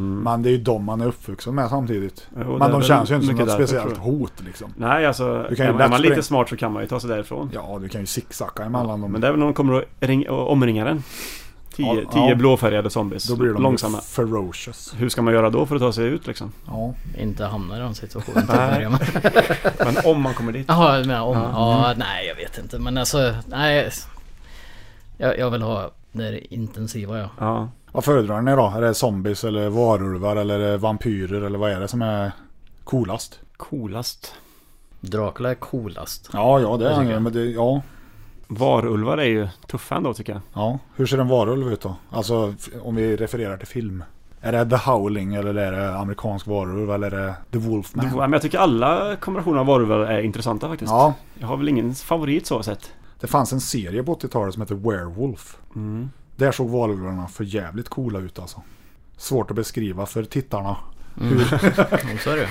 B: Men det är ju de man är uppvuxen med samtidigt.
D: Mm. Jo, det
B: Men
D: är
B: de
D: väl
B: känns ju inte som
D: mycket
B: något
D: därför,
B: speciellt
D: tror
B: hot liksom.
D: Nej, alltså
B: Du kan ju
D: är man, är man
B: lätt springa-
D: lite smart så kan man ju ta sig därifrån.
B: Ja, du kan ju zigzacka emellan dem.
D: Men det är väl när de kommer och, ring, och omringar en. Tio,
B: Ja,
D: tio
B: ja.
D: blåfärgade zombies.
B: Då blir de
D: Långsamma.
B: ju ferocious.
D: Hur ska man göra då för att ta sig ut liksom?
B: Ja.
C: Inte hamna i den situationen till
D: Nej.
C: att börja med.
D: Men om man kommer dit.
C: Jaha, du menar om? Ja, nej jag vet inte. Men alltså, nej. Jag, jag vill ha det intensiva ja.
D: Ja.
B: Vad föredrar ni då? Är det zombies eller varulvar eller är det vampyrer eller vad är det som är coolast?
D: Coolast.
C: Dracula är coolast.
B: Ja, ja det är
C: tycker
B: det.
C: jag.
B: Men det, ja,
D: Varulvar är ju tuffa ändå tycker jag.
B: ja. Hur ser en varulv ut då? Alltså f- om vi refererar till film. Är det The Howling eller är det amerikansk varulv eller är det The Wolfman?
D: Ja, Men jag tycker alla kombinationer av varulvar är intressanta faktiskt.
B: Ja,
D: Jag har väl ingen favorit så sett.
B: det fanns en serie på 80-talet som hette Werewolf. Där såg varulvarna för jävligt coola ut alltså. Svårt att beskriva för tittarna
C: Mm, Så är det ju.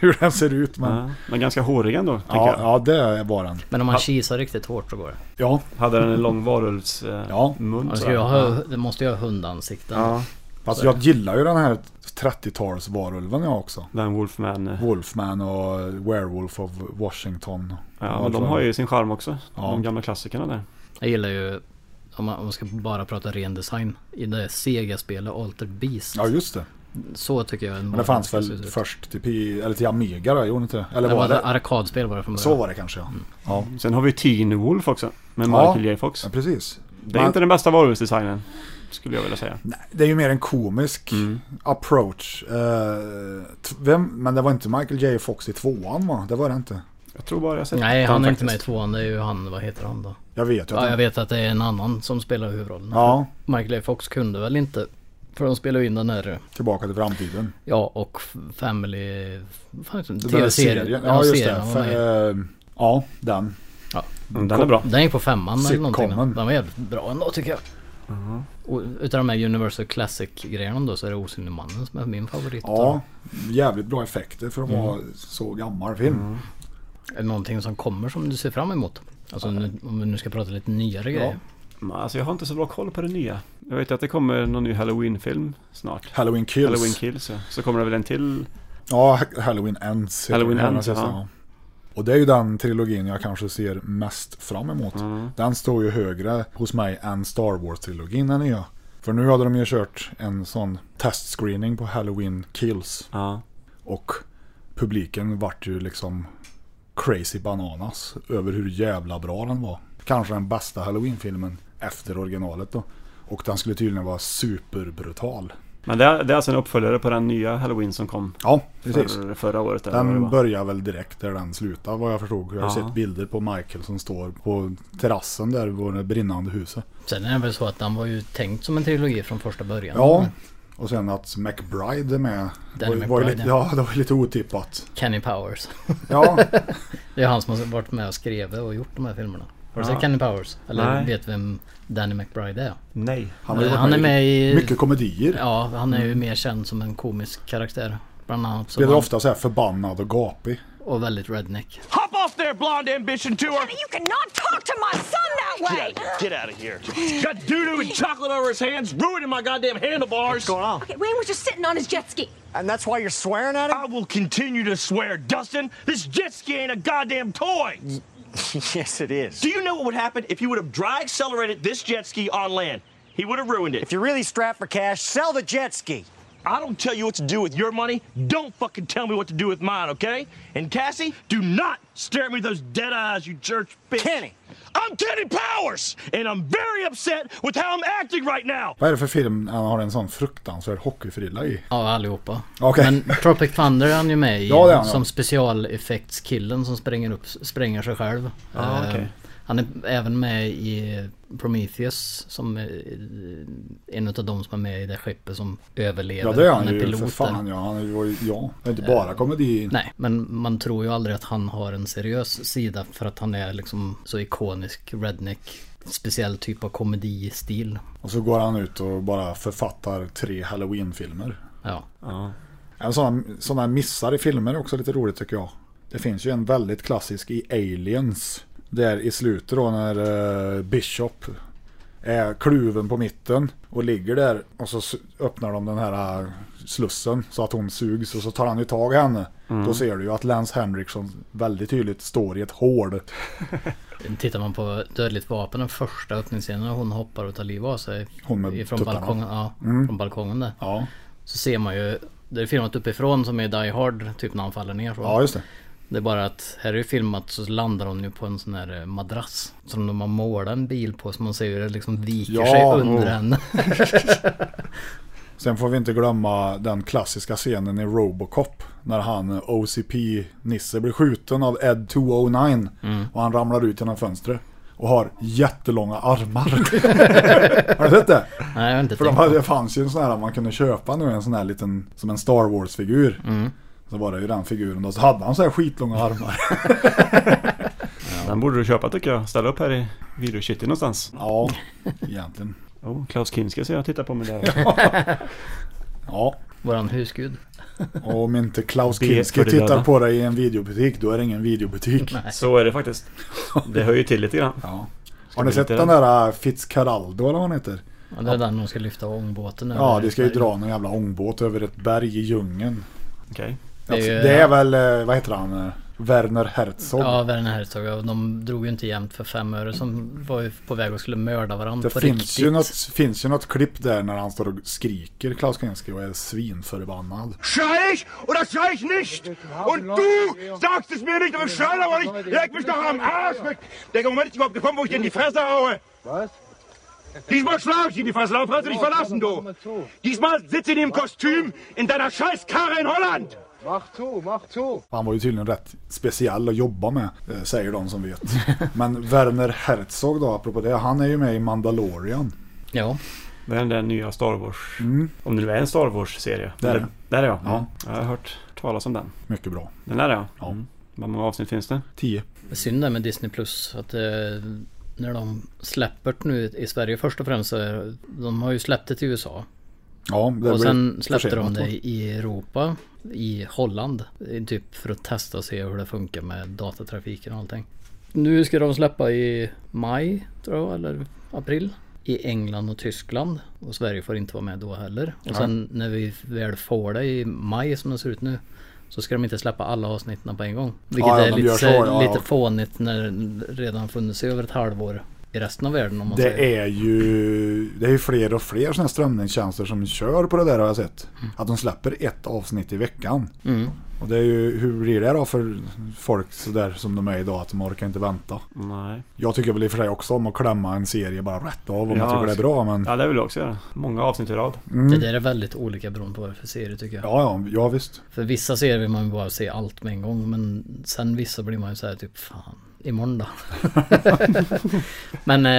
B: hur den ser ut men...
D: Ja. Men ganska håriga ändå, tänker
B: Ja,
D: jag.
B: ja det var den.
C: Men om man kisar riktigt hårt så går det.
B: Ja,
D: Hade den en lång varulvsmun eh,
B: Ja.
D: mun
C: Alltså,
D: sådär.
C: jag har, det måste ju ha hundansikten.
D: Ja,
B: fast jag gillar ju den här 30-talsvarulven jag också.
D: den Wolfman. eh,
B: Wolfman och Werewolf of Washington.
D: Ja, och de har ju sin charm också.
B: Ja.
D: De gamla klassikerna där.
C: Jag gillar ju, om man, om man ska bara prata ren design, i det Sega-spelet Alter Beast.
B: Ja, just det.
C: Så tycker jag en
B: Men det fanns väl först till, P- eller till Amiga då, gjorde det inte det? Eller
C: Det
B: var
C: var ett
B: det? Mm.
C: arkadspel bara från början.
B: Så var det kanske ja. Ja,
D: Sen har vi Teen Wolf också. Med
B: Ja.
D: Michael J Fox.
B: ja precis.
D: Det är inte den bästa varuhusdesignen. Skulle jag vilja säga.
B: Det är ju mer en komisk
D: Mm.
B: approach. Eh, t- vem, men det var inte Michael J Fox i tvåan va? Det var det inte.
D: Jag tror bara jag sett
C: Nej,
D: den
C: han är inte med i
D: faktiskt.
C: tvåan. Det är ju han, vad heter han då?
B: Jag vet ju att
C: Ja, jag
B: den-
C: vet att det är en annan som spelar huvudrollen.
B: ja,
C: Michael A. Fox kunde väl inte. För de spelade ju in den här,
B: tillbaka till framtiden.
C: ja och Family... vad fan heter den?
B: Den där
C: TV-serien.
B: Ja, just det.
C: serien var med i.
B: För, eh, ja, den.
D: Mm, Den är bra.
C: Den gick på femman eller någonting.
B: Sitcomen. Mm.
C: Den var jävligt bra ändå tycker jag. Och utav de här Universal Classic-grejerna då så är det Osynlig mannen som är min favorit.
B: Ja, Mm. jävligt bra effekter för att vara så gammal film.
D: Mm.
C: Är det någonting som kommer som du ser fram emot? Alltså nu, om vi nu ska prata lite nyare grejer.
D: Men Alltså jag har inte så bra koll på det nya. Jag vet ju att det kommer någon ny Halloween-film snart.
B: Halloween Kills.
D: Halloween Kills ja. Så kommer det väl en till.
B: Ja, Halloween Ends. heter
D: Halloween
B: den,
D: Ends,
B: precis,
D: ja.
B: Och det är ju den trilogin jag kanske ser mest fram emot.
D: Mm.
B: Den står ju högre hos mig än Star Wars-trilogin, den nya. För nu hade de ju kört en sån testscreening på Halloween Kills.
D: Ja.
B: Och publiken vart ju liksom crazy bananas över hur jävla bra den var. Kanske den bästa Halloween-filmen efter originalet då. Och den skulle tydligen vara superbrutal.
D: Men det är, det är alltså en uppföljare på den nya Halloween som kom
B: Ja, precis.
D: för, förra året. Eller vad det
B: Den
D: var.
B: börjar väl direkt där den slutar vad jag förstod. Jag har
D: Ja.
B: sett bilder på Michael som står på terrassen där vid det brinnande huset.
C: Sen är det väl så att den var ju tänkt som en trilogi från första början.
B: Ja, och sen att McBride är med.
C: Danny
B: var, var ju
C: McBride,
B: lite, ja, det var ju lite otippat.
C: Kenny Powers.
B: Ja,
C: Det är han som har varit med och skrivit och gjort de här filmerna. Har du
D: Ja.
C: sett Kenny Powers? Eller
D: Nej.
C: vet vem Danny McBride är?
D: Nej.
B: han, har ju
C: Eh,
B: varit
C: han är med i-
B: mycket komedier.
C: Ja, han är ju mer känd som en komisk karaktär. Bland annat som
B: Spelar
C: han,
B: ofta så här förbannad och gapig.
C: och väldigt redneck.
E: Hop off there, blonde ambition tour.
H: You cannot talk to my son that way!
E: Get out of here. Got doo doo and chocolate over his hands, ruining my goddamn handlebars. What's going on?
H: Okay, Wayne was just sitting on his jet ski.
J: And that's why you're swearing at him?
E: I will continue to swear, Dustin. This jet ski ain't a goddamn toy.
J: yes, it is.
E: Do you know what would happen if you would have dry accelerated this jet ski on land? He would have ruined it.
J: If you're really strapped for cash, sell the jet ski.
E: I don't tell you what to do with your money, don't fucking tell me what to do with mine, okay? And Cassie, do not stare at me with those dead eyes, you church bitch.
J: Kenny.
E: I'm Kenny Powers, and I'm very upset with how I'm acting right now.
B: Vad är det för film han har en sån fruktansvärd hockeyfrilla i?
C: Ja, allihopa.
B: Okej.
C: Men Tropic Thunder är han ju med i.
B: Ja, det är han, ja.
C: som specialeffektskillen som spränger, upp, spränger sig själv.
D: Ah,
C: Eh,
D: okej.
C: Han är även med i Prometheus som är eh, en av de som är med i det skeppet som överlever.
B: Ja, det är han,
C: är
B: ju för
C: där. Eh,
B: fan. Ja, han var ju, ja. Det är inte bara komedi.
C: Nej, men man tror ju aldrig att han har en seriös sida för att han är liksom så ikonisk redneck. Speciell typ av komedistil.
B: Och så går han ut och bara författar tre Halloween-filmer.
C: Ja.
B: Ja, Sådana, sådana missar i filmer är också lite roligt tycker jag. Det finns ju en väldigt klassisk i Aliens. Där i slutet då när eh, Bishop är kluven på mitten och ligger där och så s- öppnar de den här eh, slussen så att hon sugs och så tar han ju tag i henne. Då ser du ju att Lance Henriksson väldigt tydligt står i ett hål.
C: Tittar man på Dödligt vapen, den första öppningsscenen när hon hoppar och tar liv av sig.
B: Hon med
C: ifrån
B: tuttarna. Mm.
C: balkongen, ja, från balkongen där.
B: Ja,
C: Så ser man ju, det är filmat uppifrån som är Die Hard, typ när han faller ner. Så.
B: ja just det.
C: Det är bara att här är det filmat så landar hon ju på en sån här eh, madrass. Som de har målat en bil på så man ser hur det liksom viker
B: Ja,
C: sig under
B: oh.
C: henne.
B: Sen får vi inte glömma den klassiska scenen i Robocop. När han OCP-Nisse blir skjuten av Ed 209.
D: Mm.
B: Och han ramlar ut genom fönstret. Och har jättelånga armar. har du sett det?
C: Nej, jag har inte
B: För de
C: tänkt.
B: hade, det fanns ju en sån här man kunde köpa nu. En sån här liten, som en Star Wars-figur.
D: Mm.
B: Så var det ju den figuren då. Så hade han så här skitlånga armar.
D: Den borde du köpa tycker jag. Ställa upp här i videokitty någonstans.
B: ja, egentligen.
D: Oh, Klaus Kinski ser jag tittar på mig där.
B: Ja.
C: Våran husgud.
B: Och om inte Klaus
D: Biljett
B: Kinski
D: för de
B: tittar
D: döda.
B: på dig i en videobutik, då är det ingen videobutik.
D: Så är det faktiskt. Det hör ju till lite grann.
B: Ja. Har ni
D: vi
B: sett
D: inte-
B: den där äh, Fitzcarraldo eller vad han heter?
C: Ja, det är den hon ska lyfta ångbåten
B: Ja,
C: över.
B: det ska ju dra någon jävla ångbåt över ett berg i djungen.
D: Okej.
B: Det är,
C: är ju-
B: det är väl, eh, vad heter han, eh, Werner Herzog.
C: Ja, Werner Herzog. Och de drog ju inte jämnt för fem öre som var ju på väg och skulle mörda varandra
B: det
C: på
B: finns
C: riktigt.
B: ju, något, finns ju något klipp där när han står och skriker Klaus Kinski och är svinförbannad.
E: Schrei ich oder schrei ich nicht? eh Und du sagst es mir nicht, aber schrei aber nicht. Leg mich doch am Arsch weg. Der Moment ist überhaupt gekommen, wo ich dir in die Fresse haue. Was? Diesmal schlage ich dir in die Fresse, darauf kannst du dich verlassen, du. Diesmal sitze ich in dem Kostüm in deiner Scheißkarre in Holland.
B: Han var ju tydligen rätt speciell att jobba med, eh, säger de som vet. Men Werner Herzog då, apropå det, han är ju med i Mandalorian.
C: Ja,
D: Det är den där nya Star Wars. Om det nu är en Star Wars-serie.
B: Mm. Det är
D: Eller-
B: det.
D: Där är jag.
B: Ja.
D: Jag har hört talas om den.
B: Mycket bra.
D: Den där är jag.
B: Ja.
D: Mm. Vad många avsnitt finns det?
B: Tio.
C: synd det med Disney Plus. Att eh, när de släpper det nu i Sverige först och främst så är, de har ju släppt det till USA.
B: Ja, det
C: och
B: blir
C: sen släppte de
B: försenat, va?
C: det i Europa, i Holland. eh, Typ för att testa och se hur det funkar med datatrafiken och allting. Nu ska de släppa i maj, tror jag, eller april. I England och Tyskland. Och Sverige får inte vara med då heller.
K: Ja.
C: Och sen när vi väl får det i maj som det ser ut nu. Så ska de inte släppa alla avsnitten på en gång. Vilket
B: Ja, ja,
C: är
B: de
C: lite,
B: gör så, ja,
C: lite
B: ja.
C: fånigt när det redan funnits i över ett halvår i resten av världen om man
D: Alltså,
C: säger.
B: Det är ju det är ju fler och fler sådana här strömningstjänster som kör på det där har jag sett. Att de släpper ett avsnitt i veckan.
C: Mm.
B: Och det är ju, hur blir det då för folk sådär som de är idag att de orkar inte vänta?
D: Nej.
B: Jag tycker väl i och för sig också om att klämma en serie bara rätt av om man tycker det
D: alltså.
B: är bra men...
D: Ja, det vill jag också göra. Många avsnitt i rad.
B: Mm.
C: Det där är väldigt olika beroende på vad det är för serie tycker jag.
B: Ja, ja, ja visst.
C: För vissa serier vill man ju bara se allt med en gång men sen vissa blir man ju så här typ fan, imorgon då. men eh,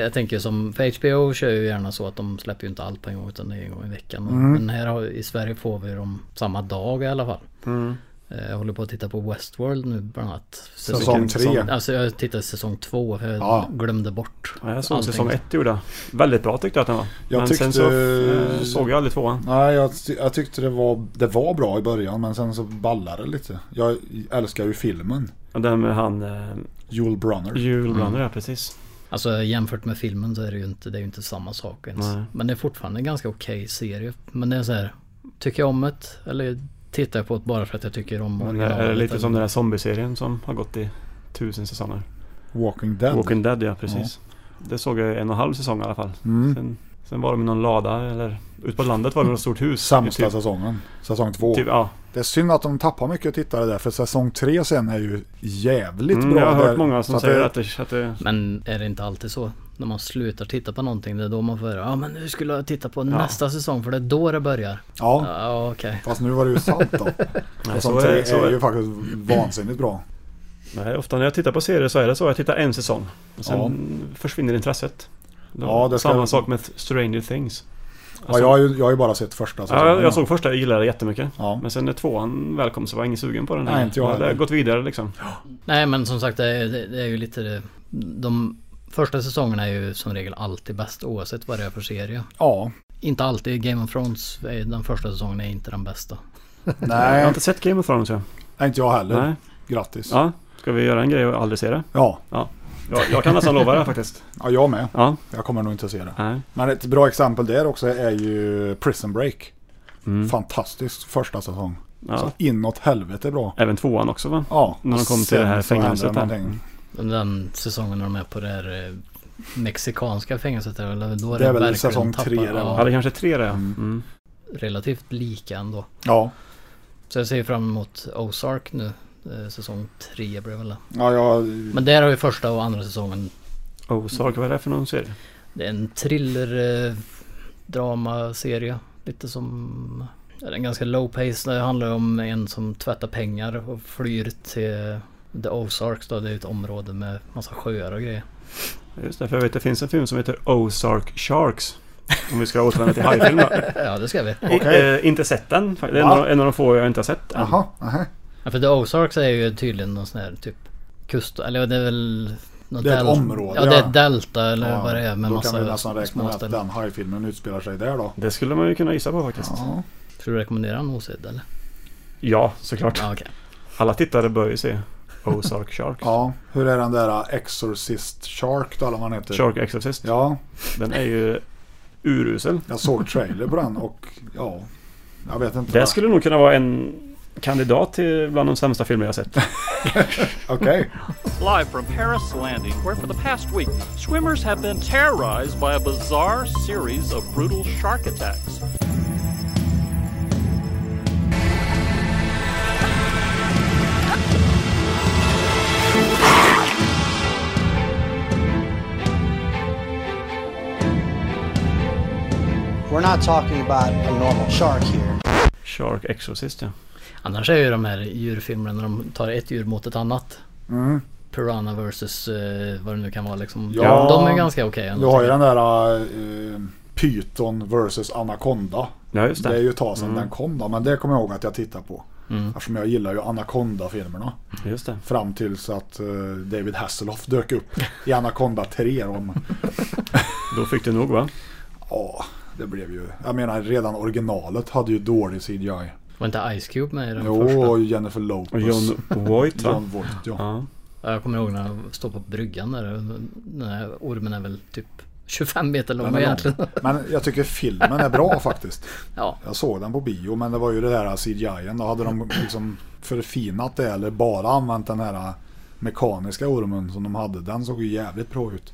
C: jag tänker som, för HBO kör ju gärna så att de släpper ju inte allt på en gång utan det är en gång i veckan.
K: Mm.
C: Men här har, i Sverige får vi dem samma dag i alla fall.
K: Mm.
C: Eh, Jag håller på att titta på Westworld nu bland annat.
B: Säsong tre.
C: Alltså jag tittade säsong två, för jag
B: Ja.
C: glömde bort
D: Ja, jag såg
C: allting.
D: säsong ett gjorde jag. Väldigt bra tyckte jag att den var.
B: Jag
D: Men
B: tyckte-
D: sen så eh, såg jag aldrig tvåan.
B: Nej, jag, ty- jag tyckte det var, det var bra i början men sen så ballade det lite. Jag älskar ju filmen.
D: Och den med han... Eh,
B: Joel Brunner.
D: Joel Brunner, ja precis.
C: Alltså jämfört med filmen så är det ju inte, det är ju inte samma sak ens.
D: Nej.
C: Men det är fortfarande en ganska okej serie. Men det är så här, tycker jag om det eller tittar jag på det bara för att jag tycker om
D: Men det är
C: originalet?
D: lite som den där zombieserien som har gått i tusen säsonger.
B: Walking Dead.
D: Walking Dead ja, precis. Det såg jag en och en halv säsong i alla fall.
B: Mm.
D: Sen, sen var de i någon lada eller ut på landet var det något stort hus.
B: Sämsta
D: Typ-
B: säsongen. Säsong två.
D: Typ, ja.
B: Det är synd att de tappar mycket tittare där för säsong tre sen är ju jävligt
D: Mm,
B: bra.
D: jag har
B: där.
D: hört många som
B: Så
D: säger att det... Att det
C: Men är det inte alltid så? När man slutar titta på någonting, det är då man får höra ja men nu skulle jag titta på nästa säsong för det är då det börjar.
B: Ja.
C: Ja okej.
B: Fast nu var det ju sant då.
D: Nej,
B: säsong
D: så är-
B: tre är,
D: så är-
B: ju faktiskt vansinnigt bra.
D: Nej, ofta när jag tittar på serier så är det så. Jag tittar en säsong. Och sen försvinner intresset. Då,
B: Ja, det ska-
D: Samma sak med Stranger Things. Mm.
B: Ja,
D: Alltså-
B: jag, har ju, jag har ju bara sett första säsongen.
D: Ja, jag, jag såg första, jag gillade det jättemycket.
B: Ja.
D: Men sen när tvåan väl kom så var jag ingen sugen på den.
B: Nej, inte jag
D: det har
B: heller.
D: gått vidare liksom.
C: Nej men som sagt det är, det är ju lite det- De första säsongerna är ju som regel alltid bäst oavsett vad det är för serie.
B: Ja.
C: Inte alltid. Game of Thrones, är- den första säsongen är inte den bästa.
D: Jag har inte sett Game of Thrones jag.
B: Nej, inte jag heller.
D: Nej.
B: Grattis.
D: Ja, ska vi göra en grej och aldrig se det?
B: Ja.
D: ja. Jag, jag kan nästan lova det faktiskt.
B: Ja, jag med.
D: Ja.
B: Jag kommer nog inte se det.
D: Nej.
B: Men ett bra exempel där också är ju Prison Break.
D: Mm.
B: Fantastisk första säsong.
D: Ja.
B: Så inåt helvete bra.
D: Även tvåan också va?
B: Ja.
D: När de kom till det
B: Sen
D: här
B: så händer
D: fängelset
B: det
D: här.
B: någonting.
C: Den säsongen när de är på det här eh, mexikanska fängelset. där, Eller då är
B: Det
C: det,
B: är väl
C: verkligen
B: säsong
C: tappar-
B: tre där,
D: Ja,
C: ja,
D: det kanske är tre det ja. Mm.
C: Relativt lika ändå.
B: Ja.
C: Så jag ser fram emot Ozark nu. Eh, Säsong tre blir det väl det.
B: Ja, jag...
C: Men där har ju första och andra säsongen.
D: Ozark, vad är det för någon serie?
C: Det är en thriller eh, dramaserie. Lite som... ja, Den är ganska low pace. Det handlar om en som tvättar pengar och flyr till eh, The Ozarks då. Det är ett område med massa sjöar och grejer.
D: Just det, för jag vet det finns en film som heter Ozark Sharks. Om vi ska återvända till hajfilm då.
C: Ja, det ska vi.
D: I- eh, inte sett den. Det är en,
C: Va?
D: av, en av de få jag inte har sett än.
B: Jaha, aha.
C: Ja, för The Ozarks är ju tydligen någon sån här typ kust... Eller det är väl... något
B: Det är ett
C: del-
B: område.
C: Ja, det är ett delta eller vad det är med
B: Då kan vi
C: massa
B: nästan räkna
C: små
B: med att
C: ställen.
B: den hajfilmen utspelar sig där då.
D: Det skulle man ju kunna gissa på faktiskt.
B: Ja,
C: Tror du rekommendera den osedd eller?
D: såklart.
C: Ja, okej.
D: Alla tittare bör ju se Ozark Shark.
B: Ja, hur är den där äh, Exorcist Shark då eller vad han heter?
D: Shark Exorcist.
B: Ja.
D: Den är ju urusel.
B: Jag såg trailer på den och ja, jag vet inte.
D: Det
B: vad-
D: skulle nog kunna vara en kandidat till bland de sämsta filmer jag har sett.
B: Okej.
L: Live from Paris Landing, where for the past week, swimmers have been terrorized by a bizarre series of brutal shark attacks.
M: We're not talking about a normal shark here.
D: Shark Exorcist ja.
C: Annars är ju de här djurfilmerna när de tar ett djur mot ett annat.
B: Mm.
C: Piranha versus eh, vad det nu kan vara liksom.
B: Ja,
C: de är ganska okej ändå.
B: Du har ju den där eh, Python versus Anaconda.
D: Ja, just det.
B: är ju ett tag sedan
D: Mm.
B: den kom då, men det kommer jag ihåg att jag tittade på.
D: Mm.
B: Eftersom jag gillar ju Anaconda-filmerna.
D: Just det.
B: Fram tills att eh, David Hasselhoff dök upp i Anaconda 3. Då,
D: då fick du nog va?
B: Ja, det blev ju... Jag menar redan originalet hade ju dålig CGI.
C: Var inte Ice Cube med i den
B: Jo,
C: första?
B: och Jennifer Lopez.
D: Och John Voight va?
B: John Voight, ja.
C: Ja, Jag kommer ihåg när jag står på bryggan där. Den här ormen är väl typ 25 meter
B: Den
C: lång
B: är lång.
C: egentligen.
B: Men jag tycker filmen är bra faktiskt.
C: Ja.
B: Jag såg den på bio men det var ju det där CGI. Då hade de liksom förfinat det eller bara använt den här mekaniska ormen som de hade. Den såg ju jävligt bra ut.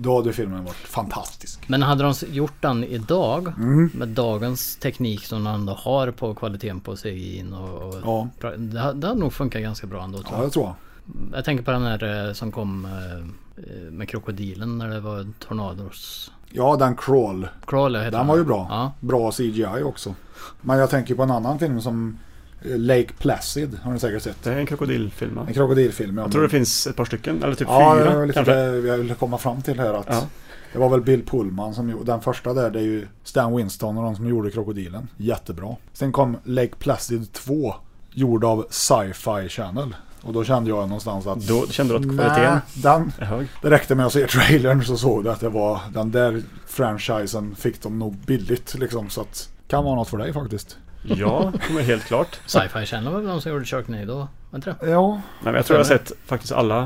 B: Då hade filmen varit fantastisk.
C: Men hade de gjort den idag
B: Mm.
C: med dagens teknik som de ändå har på kvaliteten på CGI'n och, och
B: Ja.
C: pra- det, hade- det hade nog funkat ganska bra ändå tror
B: Ja, det tror jag.
C: jag. Jag tänker på den här eh, som kom eh, eh, med krokodilen när det var tornados.
B: Ja, den Crawl.
C: Crawl heter
B: Den var ju bra. Bra CGI också. Men jag tänker på en annan film som eh, Lake Placid. Har ni säkert sett.
D: Det är en krokodilfilm va?
B: En krokodilfilm. ja,
D: Jag tror det
B: men-
D: finns ett par stycken, eller typ
B: ja, det var
D: fyra
B: lite
D: kanske.
B: det jag ville komma fram till här. Att
D: Ja.
B: Det var väl Bill Pullman som gjorde den första där. Det är ju Stan Winston och de som gjorde Krokodilen. Jättebra. Sen kom Lake Placid 2. Gjord av Sci-Fi Channel. Och då kände jag någonstans att...
D: Då kände du att kvaliteten
B: "Nä, den,
D: är hög."
B: Det räckte med att se trailern så såg du att det var... Den där franchisen fick de nog billigt liksom. Så att... Kan vara något för dig faktiskt.
D: Ja, det är helt klart.
C: Sci-Fi Channel var väl de som gjorde Sharknado? Var det inte det?
B: Ja.
D: Nej, men jag tror jag har sett faktiskt alla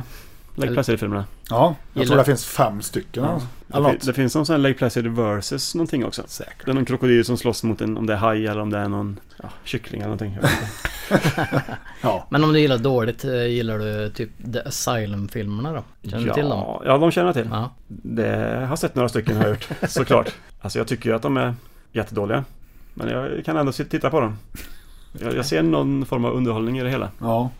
D: Lake
C: Eller-
D: Placid-filmerna.
B: Ja, jag
D: Gillar-
B: tror det finns fem stycken. alltså.
D: Ja.
B: Eller
D: Det,
B: något.
D: fin- det finns någon sån här Lake Placid versus någonting också.
B: Säkert.
D: Det är någon krokodil som slåss mot en, om det är haj eller om det är någon ja, kyckling eller någonting. Jag vet inte.
B: Ja.
C: Men om du gillar dåligt, eh, gillar du typ The Asylum-filmerna då? Känner du
D: ja,
C: till dem?
D: Ja, de känner jag till.
C: Ja.
D: Det jag har sett några stycken har jag gjort, såklart. Alltså jag tycker ju att de är jättedåliga. Men jag kan ändå sit- titta på dem. Jag, jag ser någon form av underhållning i det hela.
B: Ja,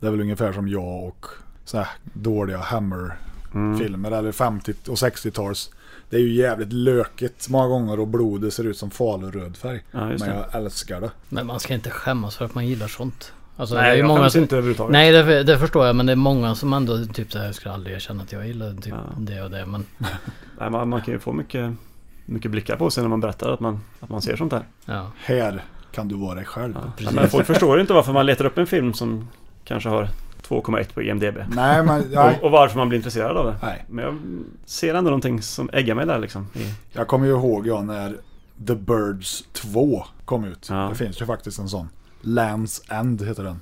B: det är väl ungefär som jag och så här dåliga
D: Mm.
B: Hammer-filmer eller 50 och 60-tals. Det är ju jävligt lökigt många gånger och blodet ser ut som faluröd färg.
D: Ja, just
B: men
D: det.
B: jag älskar det.
C: Men man ska inte skämmas för att man gillar sånt. Alltså,
D: Nej,
C: det är ju
D: jag
C: många
D: skäms
C: som...
D: inte överhuvudtaget.
C: Nej, det, det förstår jag. Men det är många som ändå typ så här, jag skulle aldrig erkänna att jag gillar typ det och det. Men
D: Nej, man, man kan ju få mycket, mycket blickar på sig när man berättar att man, att man ser sånt där.
C: ja.
B: Här kan du vara dig själv.
D: Ja, Men folk förstår ju inte varför man letar upp en film som kanske har 2,1 på IMDB.
B: Nej, men jag,
D: Och, och varför man blir intresserad av det.
B: Nej.
D: Men jag ser ändå någonting som äggar mig där liksom. I,
B: jag kommer ju ihåg jag när The Birds 2 kom ut.
D: Ja.
B: Det finns ju faktiskt en sån. Lands End heter den.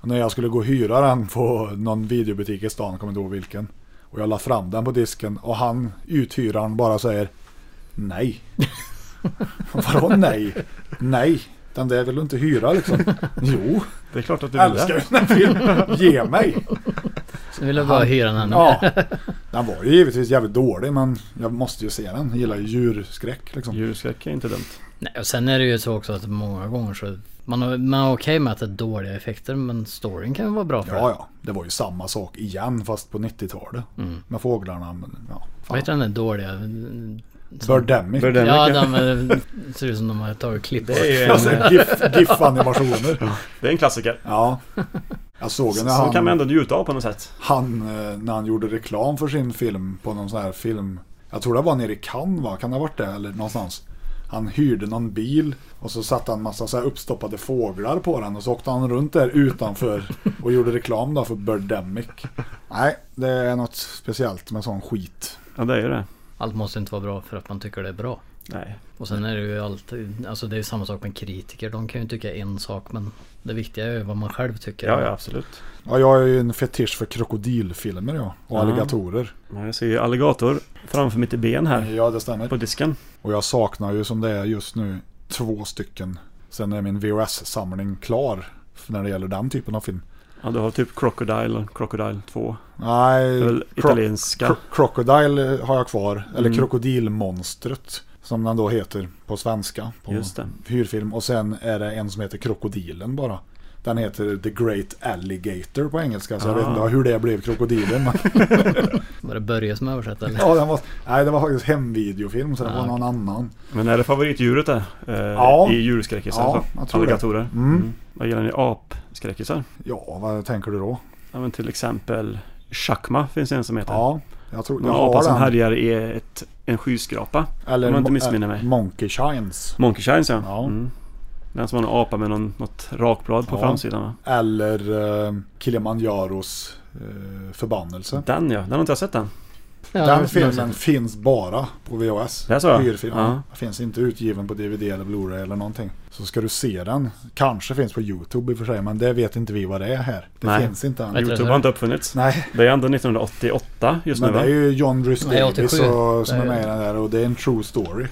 B: Och när jag skulle gå och hyra den på någon videobutik i stan, jag kommer inte ihåg vilken. Och jag la fram den på disken och han, uthyraren, bara säger Nej. Vadå nej? Nej, den där vill du inte hyra liksom. Jo,
D: det är klart att du vill
B: älskar
D: det.
B: ju den här filmen. Ge mig!
C: Nu vill jag bara hyra den här nu.
B: Ja, den var ju givetvis jävligt dålig men jag måste ju se den. Jag gillar ju djurskräck liksom.
D: Djurskräck är inte dumt.
C: Nej, och sen är det ju så också att många gånger så... Man, har- man är okej med att det är dåliga effekter men storyn kan ju vara bra för
B: Ja,
C: det.
B: ja, det var ju samma sak igen fast på 90-talet.
D: Mm.
B: Med fåglarna. Men, ja, fan.
C: Vad heter den där dåliga...
B: Birdemic.
D: Birdemic.
C: Ja, den med- ser ut som de har tagit klipp på.
D: Det är ju
B: Alltså
D: en,
B: GIF- GIF-animationer.
D: det är en klassiker.
B: Ja. Jag såg när
D: Som kan
B: han,
D: man ändå njuta av på något sätt.
B: han, eh, när han gjorde reklam för sin film på någon sån här film. Jag tror det var nere i Cannes va? Kan det ha varit det? Eller någonstans. Han hyrde någon bil och så satte han massa så här uppstoppade fåglar på den och så åkte han runt där utanför och gjorde reklam då för Birdemic. Nej, det är något speciellt med sån skit.
D: Ja, det är ju det.
C: Allt måste inte vara bra för att man tycker det är bra.
D: Nej.
C: Och sen är det ju alltid, alltså det är ju samma sak med kritiker. De kan ju tycka en sak men det viktiga är ju vad man själv tycker.
D: Ja, ja, absolut.
B: Ja, jag är ju en fetisch för krokodilfilmer jag. Och alligatorer.
D: Ja, Jag ser ju alligator framför mitt ben här
B: Ja, det stämmer.
D: på disken.
B: Och jag saknar ju som det är just nu två stycken. Sen är min VHS-samling klar när det gäller den typen av film.
D: Ja, du har typ Crocodile och Crocodile 2.
B: Nej,
D: Det är väl italienska. Mm.
B: Cro- Crocodile har jag kvar. Eller Krokodilmonstret. Som den då heter på svenska. På
D: Just det.
B: hyrfilm. Och sen är det en som heter Krokodilen bara. Den heter The Great Alligator på engelska. Så jag vet
D: Ah.
B: inte hur det blev Krokodilen. men-
C: Var det Börje som översatte eller?
B: ja, den var, nej, det var faktiskt hemvideofilm så det var någon annan.
D: Men är det favoritdjuret där? Eh,
B: Ja.
D: I djurskräckisar?
B: Ja,
D: så?
B: jag tror det. Mm.
D: Alligatorer? Mm. Vad gillar ni apskräckisar?
B: Ja, vad tänker du då?
D: Ja, men till exempel Chakma finns det en som heter.
B: Ja, jag tror...
D: Någon
B: jag har
D: apa som
B: den.
D: härjar i ett, en skyskrapa. Eller om jag inte
B: mo-
D: missminner
B: eh,
D: mig.
B: Monkey Shines.
D: Monkey Shines ja.
B: Ja.
D: Mm. Den som har en apa med någon, något rakblad på
B: Ja.
D: framsidan va?
B: Eller uh, Kilimanjaros eh, förbannelse.
D: Den ja, den har inte jag sett den. Mm. Ja, jag har
B: den
D: inte sett
B: filmen
D: den.
B: finns bara på VHS.
D: Det är så?
B: Hyrfilmen.
D: Ja.
B: Finns inte utgiven på DVD eller Blu-ray eller någonting. Så ska du se den. Kanske finns på YouTube i och för sig, men det vet inte vi vad det är här. Det finns inte än.
D: Youtube har inte uppfunnits.
B: Nej.
D: Det är ändå 1988 just
B: men
D: nu
B: det
D: va?
B: är ju John Rhys
D: Nej,
B: Davies
D: 87.
B: och- som
D: Det
B: är
D: är-
B: med i den där och det är en true story.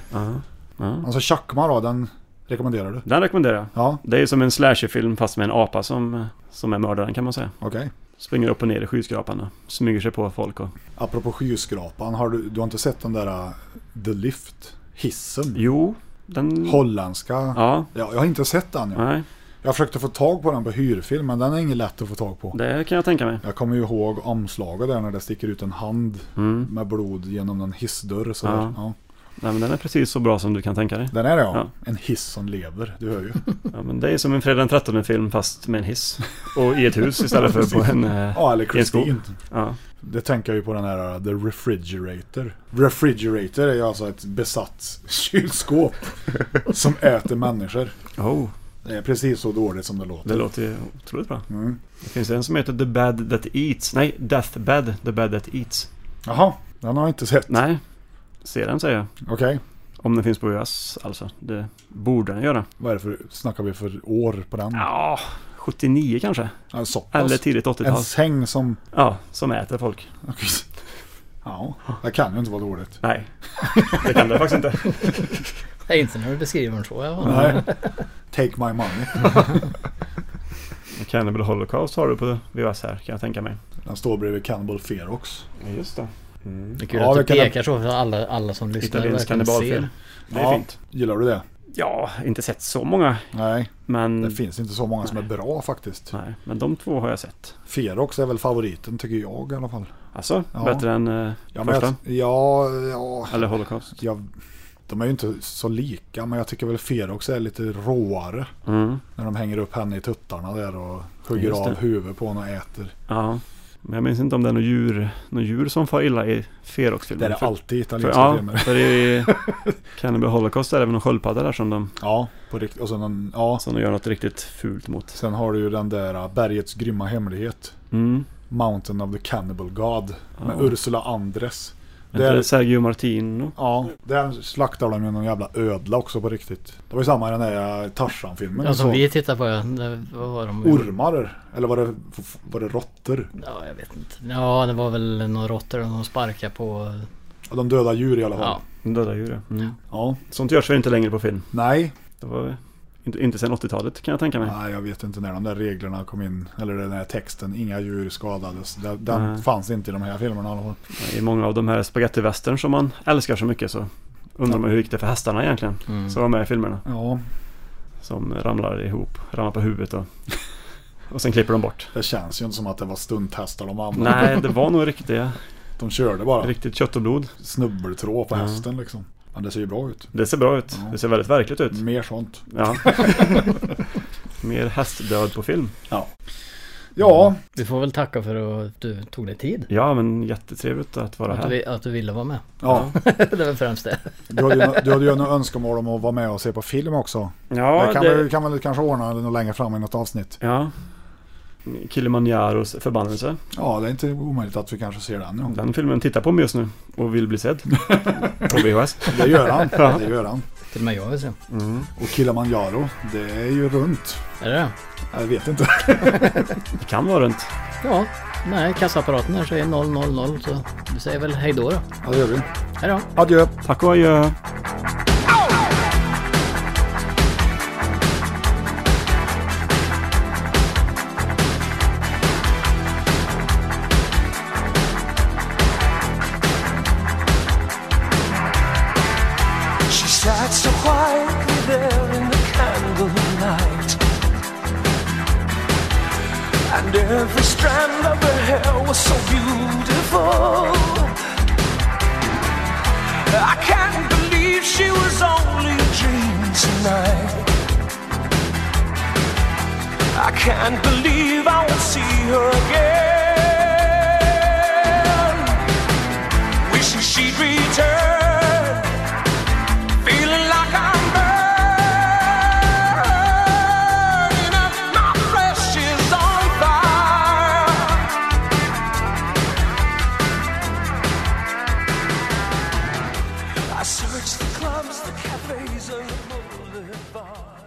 B: Alltså Chakma då, den rekommenderar du?
D: Den rekommenderar jag.
B: Ja.
D: Det är ju som en slasherfilm fast med en apa som, som är mördaren kan man säga.
B: Okej.
D: Springer upp och ner i skyskrapan och smyger sig på folk och...
B: Apropå skyskrapan, har du, du har inte sett den där uh, The Lift? Hissen?
D: Jo, den...
B: Holländska?
D: Ja.
B: ja jag har inte sett den. Jag.
D: Nej.
B: jag försökte få tag på den på hyrfilm, men den är inget lätt att få tag på.
D: Det kan jag tänka mig.
B: Jag kommer ju ihåg omslaget där när det sticker ut en hand med blod genom en hissdörr. Så
D: Mm. Ja.
B: där. Ja.
D: Nej, men den är precis så bra som du kan tänka dig.
B: Den är det ja. En hiss som lever, du hör ju.
D: Ja, men det är som en Fredag den 13 film fast med en hiss. Och i ett hus istället för på
B: Precis.
D: en... eh,
B: Ja, eller
D: i en skog.
B: Christine.
D: Ja.
B: Det tänker jag ju på den här uh, The Refrigerator. Refrigerator är ju alltså ett besatt kylskåp som äter människor.
D: Oh.
B: Det är precis så dåligt som det låter.
D: Det låter ju otroligt bra.
B: Mm.
D: Det finns en som heter The Bad That Eats. Nej, Death Bed. The Bad That Eats.
B: Jaha, den har jag inte sett.
D: Nej, se den säger jag.
B: Okej,
D: Om den finns på US alltså. Det borde den göra.
B: vad är det för, snackar vi för år på den?
D: Ja, 79 kanske.
B: Ja, så pass.
D: Eller tidigt 80-tal.
B: En säng som...
D: Ja, som äter folk.
B: Ja, det kan ju inte vara dåligt.
D: Nej, det kan det faktiskt inte.
C: Nej, inte när du beskriver den så. Ja.
B: Nej. Take my money.
D: Cannibal Holocaust har du på VHS här kan jag tänka mig.
B: Den står bredvid Cannibal Ferox.
D: Just det.
C: Det är kul
B: Ja,
C: att du
B: vi kan-
C: pekar så för alla, alla som lyssnar
D: Italiensk
C: verkligen
D: kannibalfilm.
C: ser.
D: Det är
B: Ja,
D: fint.
B: Gillar du det?
D: Ja, inte sett så många.
B: Nej,
D: Men,
B: det finns inte så många som är bra faktiskt.
D: nej, men de två har jag sett.
B: Ferox är väl favoriten tycker jag i alla fall.
D: Alltså,
B: Ja.
D: bättre än eh,
B: Ja, men
D: första?
B: jag, ja, ja,
D: Eller Holocaust?
B: jag, de är ju inte så lika men jag tycker väl Ferox är lite råare.
D: Mm.
B: När de hänger upp henne i tuttarna där och hugger
D: Just det.
B: av huvudet på henne och äter.
D: Ja. Men jag minns inte om det är något djur, något djur som far illa i Ferox-filmen.
B: Det är det
D: För-
B: alltid i
D: för,
B: italienska
D: Ja,
B: filmer.
D: för i Cannibal Holocaust är det väl någon sköldpadda där som de,
B: Ja, på riktigt. Och sen, den- ja.
D: som de gör något riktigt fult mot.
B: sen har du ju den där äh, Bergets grymma hemlighet.
D: Mm.
B: Mountain of the Cannibal God. Med
D: Ja.
B: Ursula Andres.
D: Är inte
B: Där-
D: det Sergio Martino?
B: Ja, där slaktar de ju någon jävla ödla också på riktigt. Det var ju samma i den där äh, Tarzan-filmen.
C: Ja,
B: jag
C: som
B: såg.
C: vi tittar på. ja. Det- Vad var de?
B: Ormar? Eller var det, var det råttor?
C: Ja, jag vet inte. Ja, det var väl några råttor de sparkade på.
B: Ja, De döda djur i alla fall.
C: Ja.
D: De dödar djuren. Mm.
B: Ja.
D: Sånt görs väl inte längre på film?
B: Nej.
D: Det var inte, inte sedan 80-talet kan jag tänka mig.
B: Nej, jag vet inte när de där reglerna kom in. Eller den där texten, inga djur skadades. Den, den
D: Nej.
B: fanns inte i de här filmerna i alla fall.
D: I många av de här spagettivästern som man älskar så mycket så undrar man hur gick det för hästarna egentligen?
C: Mm.
D: Som var med i filmerna.
B: Ja,
D: Som ramlar ihop, ramlar på huvudet och, och sen klipper de bort.
B: det känns ju inte som att det var stunthästar de använde.
D: Nej, det var nog riktiga,
B: De körde bara
D: riktigt kött och blod.
B: snubbeltrå på hästen liksom. Men det ser ju bra ut.
D: Det ser bra ut.
B: Ja. Mm.
D: Det ser väldigt verkligt ut.
B: Mer sånt.
D: Ja. Mer hästdöd på film.
B: Ja. Ja,
C: Du får väl tacka för att du tog dig tid.
D: Ja, men jättetrevligt att vara
C: Att
D: här.
C: du, att du ville vara med.
B: ja.
C: det var främst det.
B: Du, hade ju, du hade ju något önskemål om att vara med och se på film också.
D: Ja,
B: det kan,
D: det-
B: vi, kan väl kanske ordna något längre fram i något avsnitt.
D: Ja. Kilimanjaros förbannelse.
B: Ja, det är inte omöjligt att vi kanske ser den. Ja.
D: Den filmen tittar på mig just nu och vill bli sedd. På VHS.
B: Det gör han. Det gör han.
C: Till och med jag vill se.
B: Och Kilimanjaro, det är ju runt.
C: Är det det?
B: Jag vet inte.
D: Det kan vara runt.
C: Ja. Nej, kassaapparaten här säger 000 så du säger väl hej då då.
B: Ja, det gör vi.
C: Hej då.
B: Adjö.
D: Tack och adjö.
K: She sat so quietly there in the candlelight. And every strand of her hair was so beautiful. I can't believe she was only a dream tonight. I can't believe I will see her again. Wishing she'd return feeling like I'm burned.
I: search the clubs, the cafes, and the boulevard.